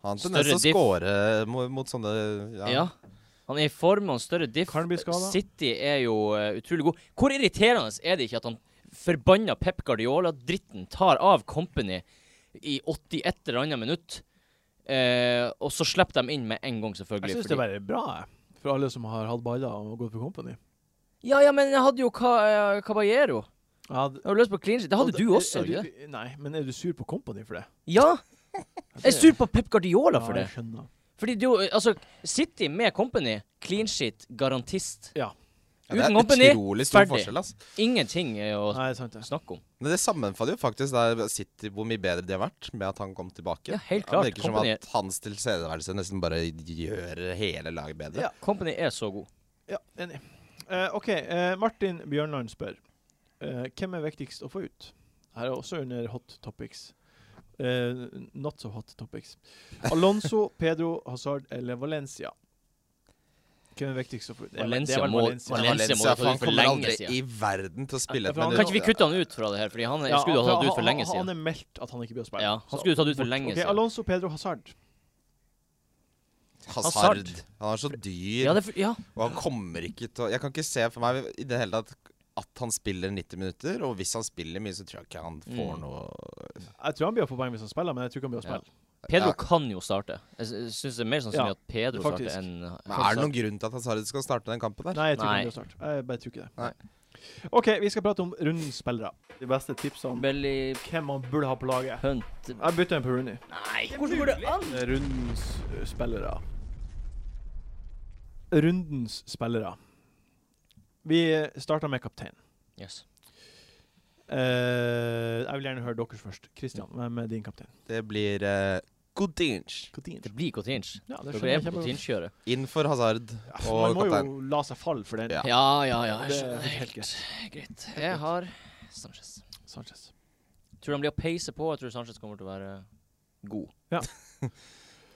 Speaker 4: Han har
Speaker 2: Større
Speaker 4: tendens til å
Speaker 2: diff.
Speaker 4: score mot, mot sånne
Speaker 2: Ja. Han er i form og en større diff.
Speaker 1: Kan bli skadet.
Speaker 2: City er jo eh, utrolig god. Hvor irriterende er det ikke at han forbanna Pep Guardiola-dritten tar av Company i 81 eller annet minutt, eh, og så slipper de inn med en gang,
Speaker 1: Jeg
Speaker 2: selvfølgelig.
Speaker 1: syns det er bare bra, jeg. For alle som har hatt baller og gått for Company.
Speaker 2: Ja, ja, men jeg hadde jo Ca eh, Caballero.
Speaker 1: Ja, d-
Speaker 2: Jeg hadde lyst på clean sheet. Det hadde
Speaker 1: og
Speaker 2: du
Speaker 1: er-
Speaker 2: også,
Speaker 1: er
Speaker 2: ikke det?
Speaker 1: du- Nei, men er du sur på Company for det?
Speaker 2: Ja! Jeg er sur på Pep
Speaker 1: Ja,
Speaker 2: Guardiola for det.
Speaker 1: jeg skjønner.
Speaker 2: Fordi det er jo, altså, City med Company, clean sheet, garantist.
Speaker 1: Ja.
Speaker 4: Ja, det
Speaker 2: Uten
Speaker 4: er
Speaker 2: Company,
Speaker 4: utrolig stor
Speaker 2: ferdig.
Speaker 4: forskjell, altså.
Speaker 2: Ingenting er å
Speaker 1: Nei, det er sant, det.
Speaker 2: snakke om.
Speaker 4: Men det sammenfaller jo faktisk der City, hvor mye bedre de har vært med at han kom tilbake.
Speaker 2: Ja, helt klart.
Speaker 4: Det virker som
Speaker 2: Company-
Speaker 4: at hans tilstedeværelse nesten bare gjør hele laget bedre.
Speaker 1: Ja.
Speaker 2: Company er så god.
Speaker 1: Ja, enig. Eh, OK, eh, Martin Bjørnland spør. eh, hvem er viktigst å få ut? Her er også under hot topics. Eh, not so hot topics. Alonso, Pedro, Hazard eller Valencia? Hvem er viktigst å få ut? Det er-
Speaker 2: Valencia
Speaker 1: det er vel
Speaker 2: må-
Speaker 1: Valencia.
Speaker 2: Valencia må du få
Speaker 4: for
Speaker 2: ut
Speaker 4: han
Speaker 2: for
Speaker 4: kommer
Speaker 2: lenge
Speaker 4: aldri
Speaker 2: siden.
Speaker 4: i verden til å spille et
Speaker 1: Ja, for han-
Speaker 4: minutt.
Speaker 2: Kan ikke vi kutte han ut fra det her, Fordi han
Speaker 1: Ja,
Speaker 2: skulle du ha
Speaker 1: han-
Speaker 2: tatt ut for
Speaker 1: han-
Speaker 2: lenge
Speaker 1: Han
Speaker 2: siden.
Speaker 1: er meldt at han ikke blir å spille.
Speaker 2: Ja, han skulle du tatt ut for lenge
Speaker 1: Ok,
Speaker 2: siden.
Speaker 1: Alonso Pedro Hazard.
Speaker 4: Hazard.
Speaker 2: Hazard.
Speaker 4: Han er så dyr,
Speaker 2: Ja, det er for, ja.
Speaker 4: og han kommer ikke til å Jeg kan ikke se for meg i det hele tatt at han spiller 90 minutter, og hvis han spiller mye, så tror jeg ikke han får
Speaker 2: Mm.
Speaker 4: noe
Speaker 1: Jeg tror han blir å få poeng hvis han spiller, men jeg tror ikke han blir å
Speaker 2: Ja.
Speaker 1: spille.
Speaker 2: Pedro
Speaker 4: Ja.
Speaker 2: kan jo starte. Jeg sy- syns det er mer sannsynlig
Speaker 1: Ja,
Speaker 2: at Pedro
Speaker 1: faktisk.
Speaker 2: starter enn
Speaker 4: Men Er det noen grunn til at Hazard skal starte den kampen der?
Speaker 1: Nei, jeg tror ikke
Speaker 2: Nei.
Speaker 1: han blir å starte. Jeg bare tror ikke det.
Speaker 4: Nei.
Speaker 1: OK, vi skal prate om rundens spillere. De beste tipsene om
Speaker 2: Belly
Speaker 1: hvem man burde ha på laget.
Speaker 2: Hunt
Speaker 1: Jeg bytter en på Rooney.
Speaker 2: Nei, hvordan går det an?
Speaker 1: Rundens eh, spillere. Rundens spillere. Vi starter med kaptein.
Speaker 2: Yes.
Speaker 1: Eh, jeg vil gjerne høre deres først. Christian, hvem er din kaptein?
Speaker 4: Det blir uh,
Speaker 1: Coutinho.
Speaker 2: Det blir Cotinch.
Speaker 1: Ja, det
Speaker 2: Dere er
Speaker 1: skjønner
Speaker 2: på
Speaker 1: jeg
Speaker 2: cotinch kjøret
Speaker 4: Inn for Hazard
Speaker 1: kjempegodt. Man
Speaker 4: og
Speaker 1: må
Speaker 4: kaptein.
Speaker 1: jo la seg falle for den.
Speaker 4: Ja.
Speaker 2: Ja, ja, ja. Jeg
Speaker 1: Det
Speaker 2: skjønner.
Speaker 1: er helt greit.
Speaker 2: Det er greit. Jeg har Sanchez.
Speaker 1: Sanchez.
Speaker 2: Tror han blir å peise på. Jeg tror Sanchez kommer til å være god.
Speaker 1: Ja.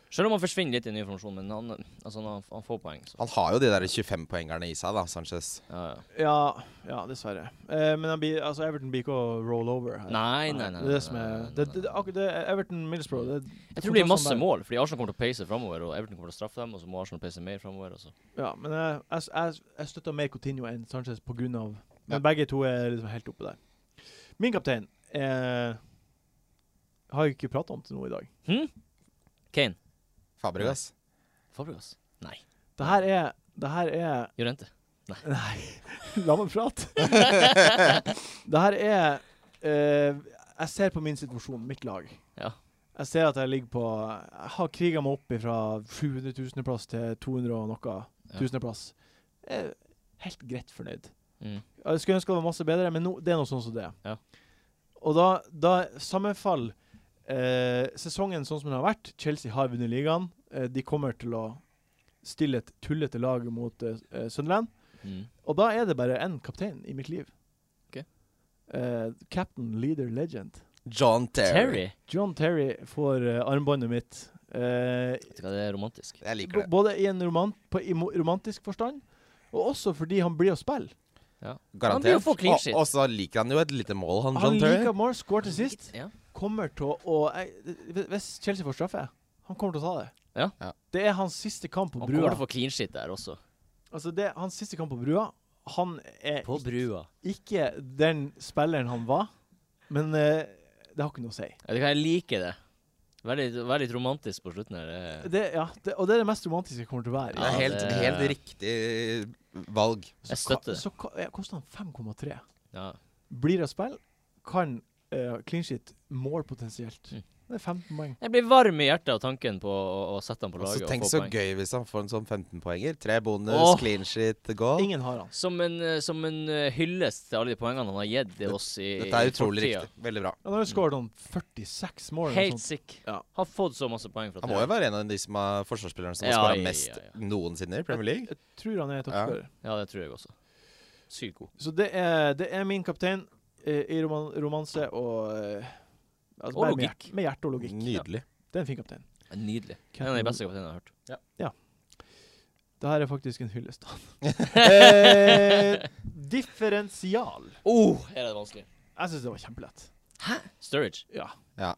Speaker 2: Selv om han forsvinner litt i ny informasjon, men han, altså, han, han får poeng. Så.
Speaker 4: Han har jo de der 25-poengerne i seg, da, Sanchez.
Speaker 2: Ja, ja.
Speaker 1: Ja, ja dessverre. Eh, men han blir, altså Everton blir ikke å roll over her.
Speaker 2: Nei, nei, nei.
Speaker 1: Det er det som
Speaker 2: nei,
Speaker 1: er
Speaker 2: nei,
Speaker 1: det,
Speaker 2: nei,
Speaker 1: det, det, akkurat det er Everton Middlesbrough det,
Speaker 2: Jeg tror det blir masse
Speaker 1: Sånn der.
Speaker 2: mål, fordi Arsenal kommer til å peise framover, og Everton kommer til å straffe dem, og så må Arsenal peise mer framover.
Speaker 1: Ja, men jeg, jeg, jeg, jeg støtter mer Coutinho enn Sanchez på grunn av Men
Speaker 4: Ja.
Speaker 1: begge to er liksom helt oppe der. Min kaptein eh, har jeg ikke prata om til noe i dag.
Speaker 2: Hm? Kane.
Speaker 4: Fabregas.
Speaker 2: Fabregas. Nei.
Speaker 1: Det her er Det her er
Speaker 2: Jorente.
Speaker 1: Nei, la meg prate. det her er eh, Jeg ser på min situasjon, mitt lag.
Speaker 2: Ja.
Speaker 1: Jeg ser at jeg ligger på Jeg har kriga meg opp fra 700 000.-plass til 200 og noe
Speaker 2: Ja.
Speaker 1: tusendeplass. Jeg er helt greit fornøyd.
Speaker 2: Mm.
Speaker 1: Jeg skulle ønske det var masse bedre, men nå, det er noe sånn som det. er.
Speaker 2: Ja.
Speaker 1: Og da, da sammenfaller eh, sesongen sånn som den har vært. Chelsea har vunnet ligaen. Eh, de kommer til å stille et tullete lag mot eh, eh, Sunderland.
Speaker 2: Mm.
Speaker 1: Og da er det bare én kaptein i mitt liv.
Speaker 2: Ok.
Speaker 1: Eh, Captain Leader Legend.
Speaker 4: John Terry.
Speaker 2: Terry.
Speaker 1: John Terry får eh, armbåndet mitt. eh,
Speaker 2: Vet du hva, det er romantisk.
Speaker 4: Jeg liker
Speaker 1: b-
Speaker 4: det.
Speaker 1: både i en roman på, i mo- romantisk forstand, og også fordi han blir å spille.
Speaker 2: Han blir jo
Speaker 4: Garantert.
Speaker 2: for clean
Speaker 4: Og-
Speaker 2: sheet.
Speaker 4: Og så liker han jo et lite mål, han
Speaker 1: Han
Speaker 4: John Terry.
Speaker 1: liker more, score til sist.
Speaker 2: Ja.
Speaker 1: Kommer til å og jeg- Hvis Chelsea får straffe, han kommer til å ta det.
Speaker 2: Ja.
Speaker 4: Ja.
Speaker 1: Det er hans siste kamp på
Speaker 2: Han kommer
Speaker 1: brua.
Speaker 2: til å få clean shit der også.
Speaker 1: Altså, det er hans siste kamp på brua. Han er
Speaker 2: På brua.
Speaker 1: ikke den spilleren han var, men eh, det har ikke noe å si.
Speaker 2: Vet du hva, jeg liker det. Vær litt, vær litt romantisk på slutten her. det-
Speaker 1: Det, ja, det, og det er det mest romantiske jeg kommer til å være.
Speaker 4: Det er
Speaker 2: Ja,
Speaker 4: helt,
Speaker 2: det-
Speaker 4: helt riktig valg.
Speaker 1: Så
Speaker 2: jeg
Speaker 1: ka-
Speaker 2: støtter det.
Speaker 1: Så ka- ja, koster han 5,3.
Speaker 2: Ja.
Speaker 1: Blir det spill, kan eh, clean shit mål potensielt.
Speaker 2: Mm.
Speaker 1: Det er 15 poeng.
Speaker 2: Jeg blir varm i hjertet av tanken på å, å sette han på
Speaker 4: Og så
Speaker 2: laget og
Speaker 4: Altså, tenk
Speaker 2: få
Speaker 4: så
Speaker 2: poeng.
Speaker 4: gøy hvis han får en sånn 15-poenger. Tre bonus,
Speaker 2: Åh.
Speaker 4: clean sheet, goal.
Speaker 1: Ingen har han.
Speaker 2: Som en, eh, som en eh, hyllest til alle de poengene han har gitt til oss i
Speaker 4: Dette er
Speaker 2: i
Speaker 4: utrolig
Speaker 2: fortida.
Speaker 4: riktig. Veldig bra.
Speaker 1: Han har jo skåret sånn 46 mål. eller noe
Speaker 2: Helt
Speaker 1: sånt.
Speaker 2: sick.
Speaker 1: Ja.
Speaker 2: Har fått så masse poeng fra
Speaker 4: Han må jo være en av de som har forsvarsspillerne som har
Speaker 2: Ja,
Speaker 4: skåra
Speaker 2: ja,
Speaker 4: mest
Speaker 2: ja, ja.
Speaker 4: noensinne i Premier League.
Speaker 1: Jeg tror han er toppskårer.
Speaker 2: Ja, det tror jeg også. Sykt god.
Speaker 1: Så det er, det er min kaptein eh, i roman, romanse og eh, altså
Speaker 2: Og
Speaker 1: bare Med,
Speaker 2: logikk.
Speaker 1: hjert- med hjerte og logikk.
Speaker 4: Nydelig.
Speaker 1: Det er en fin kaptein.
Speaker 2: Nydelig. En av de beste kapteinene jeg har hørt.
Speaker 1: Det her er faktisk en hyllest. eh, differensial.
Speaker 2: Oh, her er det vanskelig.
Speaker 1: Jeg syns det var kjempelett.
Speaker 2: Sturridge.
Speaker 1: Ja.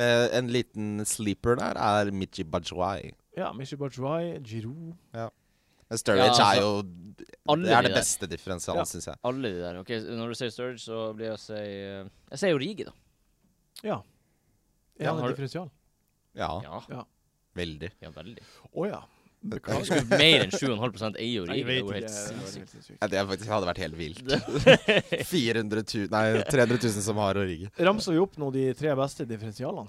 Speaker 4: Eh, en liten sleeper der er Michi Bajwai.
Speaker 1: Ja, Michel Bajoy, Giroud
Speaker 4: Sturridge
Speaker 2: Ja, altså,
Speaker 4: er jo
Speaker 2: Alle
Speaker 4: Det er
Speaker 2: de
Speaker 4: det
Speaker 2: der.
Speaker 4: beste
Speaker 1: Ja.
Speaker 4: differensialen, synes syns jeg.
Speaker 2: Alle de der. Ok, Når du sier Sturridge, så blir jeg å si eh, Jeg sier jo Rigi, da.
Speaker 1: Er
Speaker 2: Ja,
Speaker 1: han
Speaker 2: har
Speaker 1: et
Speaker 2: du-
Speaker 1: differensial?
Speaker 4: Ja,
Speaker 2: Ja,
Speaker 4: veldig.
Speaker 2: ja veldig.
Speaker 1: Å ja. Beklager.
Speaker 2: Skulle Mer enn 7,5 eier jo
Speaker 1: Jeg
Speaker 2: Rigi. Det
Speaker 1: vet
Speaker 2: er jo
Speaker 1: ikke.
Speaker 2: helt sinnssykt.
Speaker 4: Ja, det er faktisk, hadde vært helt vilt. 400 000, nei, 300 000 som har Origi.
Speaker 1: Ramser vi opp nå de tre beste differensialene?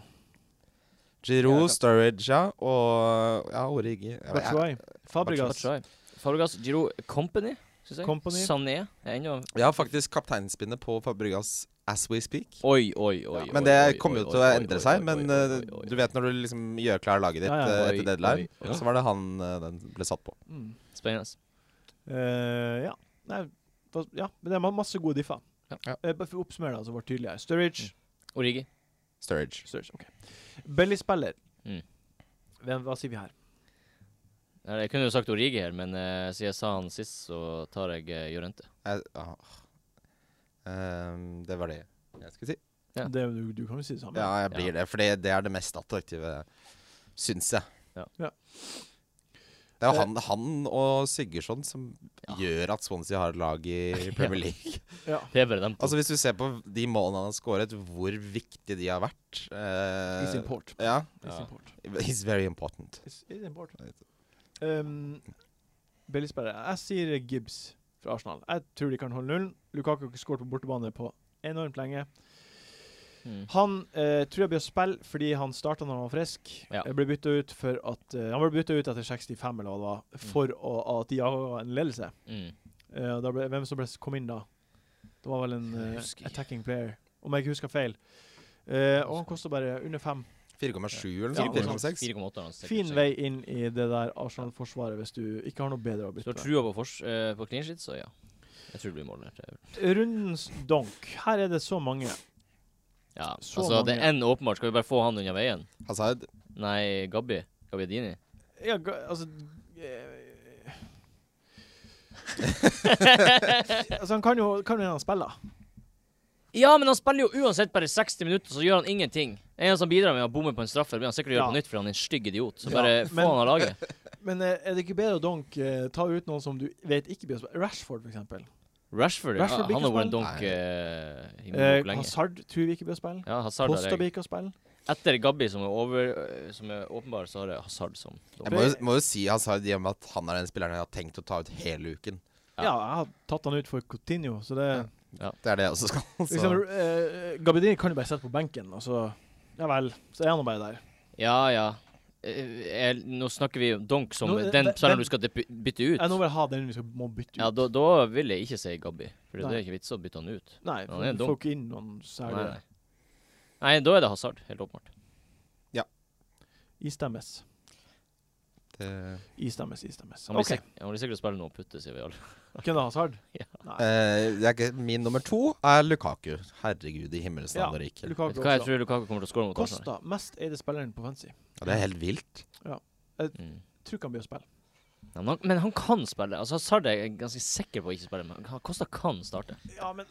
Speaker 4: Giroud, Sturridge, ja, og ja, Origi. Ja, jeg,
Speaker 1: Batshuayi, Fabregas,
Speaker 2: Batshuayi. Fabregas, Giro Company, syns jeg.
Speaker 1: Company.
Speaker 2: Sané er ennå
Speaker 4: jeg har faktisk kapteinspinnet på Fabregas as we speak.
Speaker 2: Oi, oi, oi.
Speaker 4: Men det kommer jo til å endre seg. Men eh, du vet når du liksom gjør klar laget ditt
Speaker 1: Ja, ja.
Speaker 4: eh,
Speaker 2: Oi,
Speaker 4: etter deadline,
Speaker 2: oi, oi.
Speaker 4: så var det han eh, den ble satt på.
Speaker 1: Mm.
Speaker 2: Spennende.
Speaker 1: Eh, ja. Nei, hva- ja. Men det er ma- masse gode differ.
Speaker 2: Ja.
Speaker 4: Ja.
Speaker 1: Eh, bare for å oppsummere det, så var det tydelig her. Sturridge.
Speaker 2: Origi.
Speaker 4: Sturridge.
Speaker 1: Sturridge, ok. Belly-spiller.
Speaker 2: Mm.
Speaker 1: Hvem, hva sier vi her?
Speaker 2: Eller, Jeg kunne jo sagt Origi her, men eh, siden jeg sa han sist, så tar jeg eh, Jorente.
Speaker 4: Jeg, ah. Ehm, det var det jeg skulle si.
Speaker 2: Ja.
Speaker 1: Det, du, du kan jo si det samme.
Speaker 4: Ja, jeg blir det, for det, det er det mest attraktive, syns jeg.
Speaker 2: Ja.
Speaker 1: Ja.
Speaker 4: Det er jo han, han og Sigurdsson som
Speaker 2: Ja.
Speaker 4: gjør at Swansea har lag i Premier League.
Speaker 1: Ja.
Speaker 2: Det er bare dem. to.
Speaker 4: Altså Hvis du ser på de målene han har skåret, hvor viktig de har vært eh,
Speaker 1: It's important.
Speaker 4: Ja.
Speaker 1: It's
Speaker 2: Ja.
Speaker 1: important.
Speaker 4: It's very important.
Speaker 1: It's, it's important. Um, Billigsperre. Jeg sier Gibbs fra Arsenal. Jeg tror de kan holde nullen. Lukaku har ikke skåret på bortebane på enormt lenge.
Speaker 2: Mm.
Speaker 1: Han eh, tror jeg blir å spille fordi han starta når han var frisk.
Speaker 2: Ja.
Speaker 1: Jeg Ble bytta ut for at eh, Han ble bytta ut etter 65 eller hva det var, for å, at de jaga en ledelse.
Speaker 2: Mm.
Speaker 1: Eh, og da ble, hvem som ble, kom inn da? Det var vel en
Speaker 2: Jeg
Speaker 1: eh,
Speaker 2: husker ikke.
Speaker 1: attacking player, om jeg ikke husker feil. Eh, og han kosta bare under fem.
Speaker 4: 4,7 eller
Speaker 1: Ja,
Speaker 4: noe
Speaker 1: det er
Speaker 4: 4,6.
Speaker 2: 4,8 har han sikkert
Speaker 1: Fin
Speaker 2: altså. sikkert.
Speaker 1: vei inn i det der Arsenal-forsvaret hvis du ikke har noe bedre å
Speaker 2: Hvis du
Speaker 1: bytte
Speaker 2: har
Speaker 1: med.
Speaker 2: trua på, fors, eh, på clean sheet, så ja. Jeg tror det blir mål der. tror jeg.
Speaker 1: Rundens donk. Her er det så mange.
Speaker 2: Ja,
Speaker 1: Så
Speaker 2: altså det
Speaker 1: mange.
Speaker 2: er én åpenbart. Skal vi bare få han unna veien?
Speaker 4: Hazard.
Speaker 2: Nei, Gabby. Gabbidini.
Speaker 1: Ja, ga- altså eh, Altså, han kan jo kan jo hende han spiller.
Speaker 2: Ja, men han spiller jo uansett bare 60 minutter, så gjør han ingenting. En gang han bidrar med å bomme på en straffe, det blir han sikkert å gjøre
Speaker 1: Ja.
Speaker 2: på nytt, for han er en stygg idiot. Så
Speaker 1: Ja,
Speaker 2: bare få
Speaker 1: men-
Speaker 2: han av laget.
Speaker 1: Men eh, er det ikke bedre å donk eh, ta ut noen som du vet ikke blir å spille? Rashford, for eksempel.
Speaker 2: Rashford, ja,
Speaker 1: Rashford blir
Speaker 2: han
Speaker 1: ikke
Speaker 2: har vært en
Speaker 4: spennende.
Speaker 2: donk eh, i
Speaker 1: Eh,
Speaker 2: hvor lenge.
Speaker 1: Hazard tror vi ikke blir å spille.
Speaker 2: Ja, Hazard
Speaker 1: Costa
Speaker 2: har
Speaker 1: blir
Speaker 2: jeg.
Speaker 1: ikke å spille.
Speaker 2: Etter Gabby, som er, over, eh, som er åpenbar, så har jeg Hazard som
Speaker 4: Jeg
Speaker 2: donk.
Speaker 4: må jo, må jo si Hazard i og med at han er den spilleren jeg har tenkt å ta ut hele uken.
Speaker 2: Ja.
Speaker 1: Ja, jeg har tatt han ut for Coutinho, så det
Speaker 4: Ja, Det er det jeg også skal. Så.
Speaker 1: liksom, eh, Gabbedini kan jo bare sette på benken, og så Ja vel, så er han nå bare der.
Speaker 2: Ja, ja. Eh, Jeg, nå snakker vi om donk som
Speaker 1: Nå, eh,
Speaker 2: den
Speaker 1: den-
Speaker 2: spilleren
Speaker 1: den-
Speaker 2: du skal depu- bytte ut.
Speaker 1: Jeg nå vil jeg ha den vi skal må bytte ut.
Speaker 2: Ja, da, da vil jeg ikke si Gabby, for det
Speaker 1: Nei.
Speaker 2: er ikke vits å bytte han ut.
Speaker 1: Nei,
Speaker 2: han er
Speaker 1: for
Speaker 2: en
Speaker 1: du får
Speaker 2: dunk.
Speaker 1: ikke inn noen
Speaker 2: Nei,
Speaker 1: særlig
Speaker 2: nei. nei, da er det Hazard, helt åpenbart.
Speaker 1: Istemmes.
Speaker 4: Det-
Speaker 1: Istemmes, istemmes.
Speaker 2: Han blir
Speaker 1: OK.
Speaker 2: okay. sikkert å spille noe putte, sier vi alle.
Speaker 1: Hvem da? Hazard?
Speaker 2: Ja.
Speaker 1: Nei.
Speaker 4: Eh, det er ikke, min nummer to er Lukaku. Herregud, i himmelens
Speaker 1: Ja,
Speaker 4: navn og rike.
Speaker 1: Lukaku
Speaker 2: Vet du hva jeg
Speaker 1: også.
Speaker 2: tror Lukaku kommer til å skåre mot Arsenal?
Speaker 1: Costa, mest eide spilleren på Fancy.
Speaker 4: Ja, det er helt vilt.
Speaker 2: Mm.
Speaker 1: Tror ikke han blir å spille.
Speaker 2: Ja, men, han, men han kan spille. Altså Hazard er jeg ganske sikker på å ikke spille, men han- Costa kan starte.
Speaker 1: Ja, men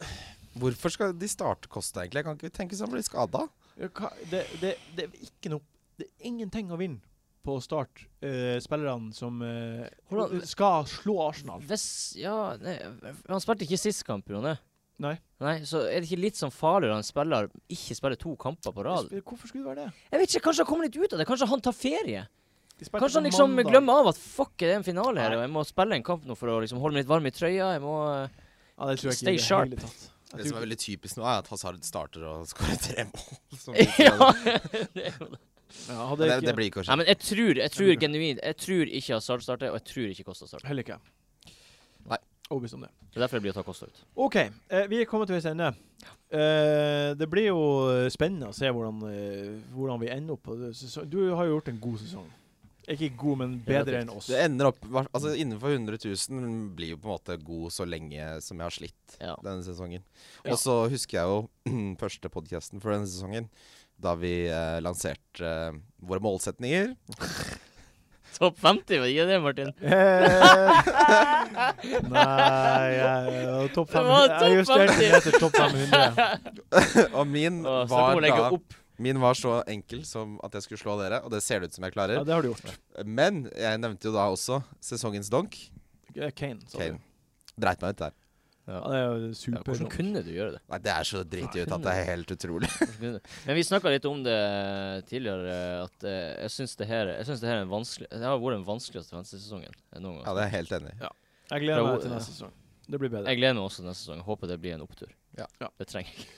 Speaker 4: Hvorfor skal de starte Kosta, egentlig? Kan ikke vi tenke oss han blir skada?
Speaker 1: ja, hva, det, det, det er ikke noe Det er ingenting å vinne på å starte eh, spillerne som eh,
Speaker 2: Hvordan-
Speaker 1: skal slå Arsenal.
Speaker 2: Hvis Ja, nei, han spilte ikke sist kamp, Jone.
Speaker 1: Nei.
Speaker 2: Nei, Så er det ikke litt sånn farlig når han spiller, ikke spiller to kamper på rad?
Speaker 1: Hvorfor skulle det være det?
Speaker 2: Jeg vet ikke, Kanskje han kommer litt ut av det? Kanskje han tar ferie?
Speaker 1: De spilte
Speaker 2: Kanskje han
Speaker 1: på
Speaker 2: liksom
Speaker 1: mandag.
Speaker 2: glemmer av at fuck, det er en finale her,
Speaker 1: Nei.
Speaker 2: og jeg må spille en kamp nå for å liksom holde meg litt varm i trøya. Jeg må eh,
Speaker 1: Ja, det tror jeg ikke
Speaker 2: Stay
Speaker 1: i det
Speaker 2: sharp.
Speaker 1: hele tatt. Jeg
Speaker 4: Det som
Speaker 1: tror
Speaker 4: er
Speaker 1: ikke-
Speaker 4: veldig typisk nå, er at Hazard starter og skårer tre mål. Som
Speaker 2: Ja! det er jo det.
Speaker 1: Ja, hadde
Speaker 4: det,
Speaker 1: jeg
Speaker 4: det
Speaker 1: ikke,
Speaker 4: blir ikke å
Speaker 2: Nei,
Speaker 4: skje.
Speaker 2: men jeg tror, jeg tror genuint Jeg tror ikke Hazard starter, og jeg tror ikke Costa starter.
Speaker 1: heller ikke.
Speaker 4: Nei.
Speaker 1: Overbevist om det.
Speaker 2: Det er derfor jeg blir å ta Costa ut.
Speaker 1: OK, eh, vi er kommet til veis ende. Eh, det blir jo eh, spennende å se hvordan, eh, hvordan vi ender opp. på det. sesong- Du har jo gjort en god sesong. Ikke god, men bedre enn oss.
Speaker 4: Det ender opp hva- Altså Innenfor 100 000 blir jo på en måte god så lenge som jeg har slitt
Speaker 2: Ja.
Speaker 4: denne sesongen.
Speaker 1: Ja.
Speaker 4: Og så husker jeg jo første podkasten for denne sesongen, da vi eh, lanserte eh, våre målsetninger.
Speaker 2: Topp 50, var det ikke det, Martin?
Speaker 1: Eh, Nei jeg, eh, Topp
Speaker 2: Det
Speaker 1: 500.
Speaker 2: var
Speaker 1: Jeg
Speaker 2: topp
Speaker 1: justerte den etter topp 500.
Speaker 4: Og min
Speaker 2: Å, snakk om
Speaker 4: var
Speaker 2: å legge
Speaker 4: da
Speaker 2: opp.
Speaker 4: Min var så enkel som at jeg skulle slå dere, og det ser det ut som jeg
Speaker 1: Ja,
Speaker 4: klarer.
Speaker 1: det har du gjort.
Speaker 4: Men jeg nevnte jo da også sesongens donk.
Speaker 1: Eh, Kane. sa du.
Speaker 4: Kane. Dreit meg ut der.
Speaker 1: Ja, det er jo
Speaker 2: Ja,
Speaker 1: super.
Speaker 2: hvordan kunne du gjøre det?
Speaker 4: Nei, Det er så dritig ut at det er helt utrolig.
Speaker 2: Hvordan kunne du? Men vi snakka litt om det tidligere, at eh, jeg syns det her Jeg synes det her er en vanskelig Det har vært den vanskeligste venstresesongen jeg noen gang.
Speaker 4: Ja, det er jeg helt enig. i.
Speaker 1: Jeg gleder meg til
Speaker 2: Bravo.
Speaker 1: neste sesong. Det blir bedre.
Speaker 2: Jeg gleder meg også til neste sesong. Håper det blir en opptur.
Speaker 4: Ja.
Speaker 1: Ja.
Speaker 2: Det trenger jeg.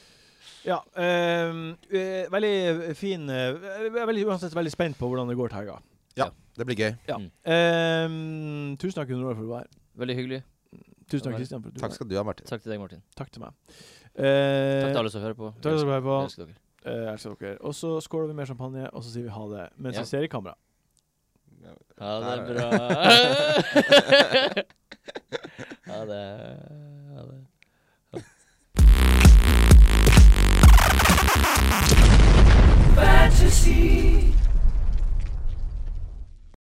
Speaker 1: Ja, ehm, eh, veldig fin eh, Jeg er veldig, uansett veldig spent på hvordan det går til helga.
Speaker 4: Det blir gøy.
Speaker 1: Ja.
Speaker 2: Mm.
Speaker 1: Ehm, tusen takk, Gunnar, for at du var her.
Speaker 2: Veldig hyggelig.
Speaker 1: Tusen
Speaker 2: Bare-
Speaker 1: takk, Kristian, for at du
Speaker 4: Takk
Speaker 1: var her.
Speaker 4: skal du ha, Martin.
Speaker 2: Takk til deg, Martin.
Speaker 1: Takk til meg.
Speaker 2: Takk til
Speaker 1: Eh,
Speaker 2: alle som hører på.
Speaker 1: Takk for at du var her på.
Speaker 2: Jeg elsker dere.
Speaker 1: Eh, jeg elsker dere. Og så skåler vi mer champagne, og så sier vi ha det mens
Speaker 2: Ja.
Speaker 1: vi ser i kamera.
Speaker 2: Ha det bra. ha det.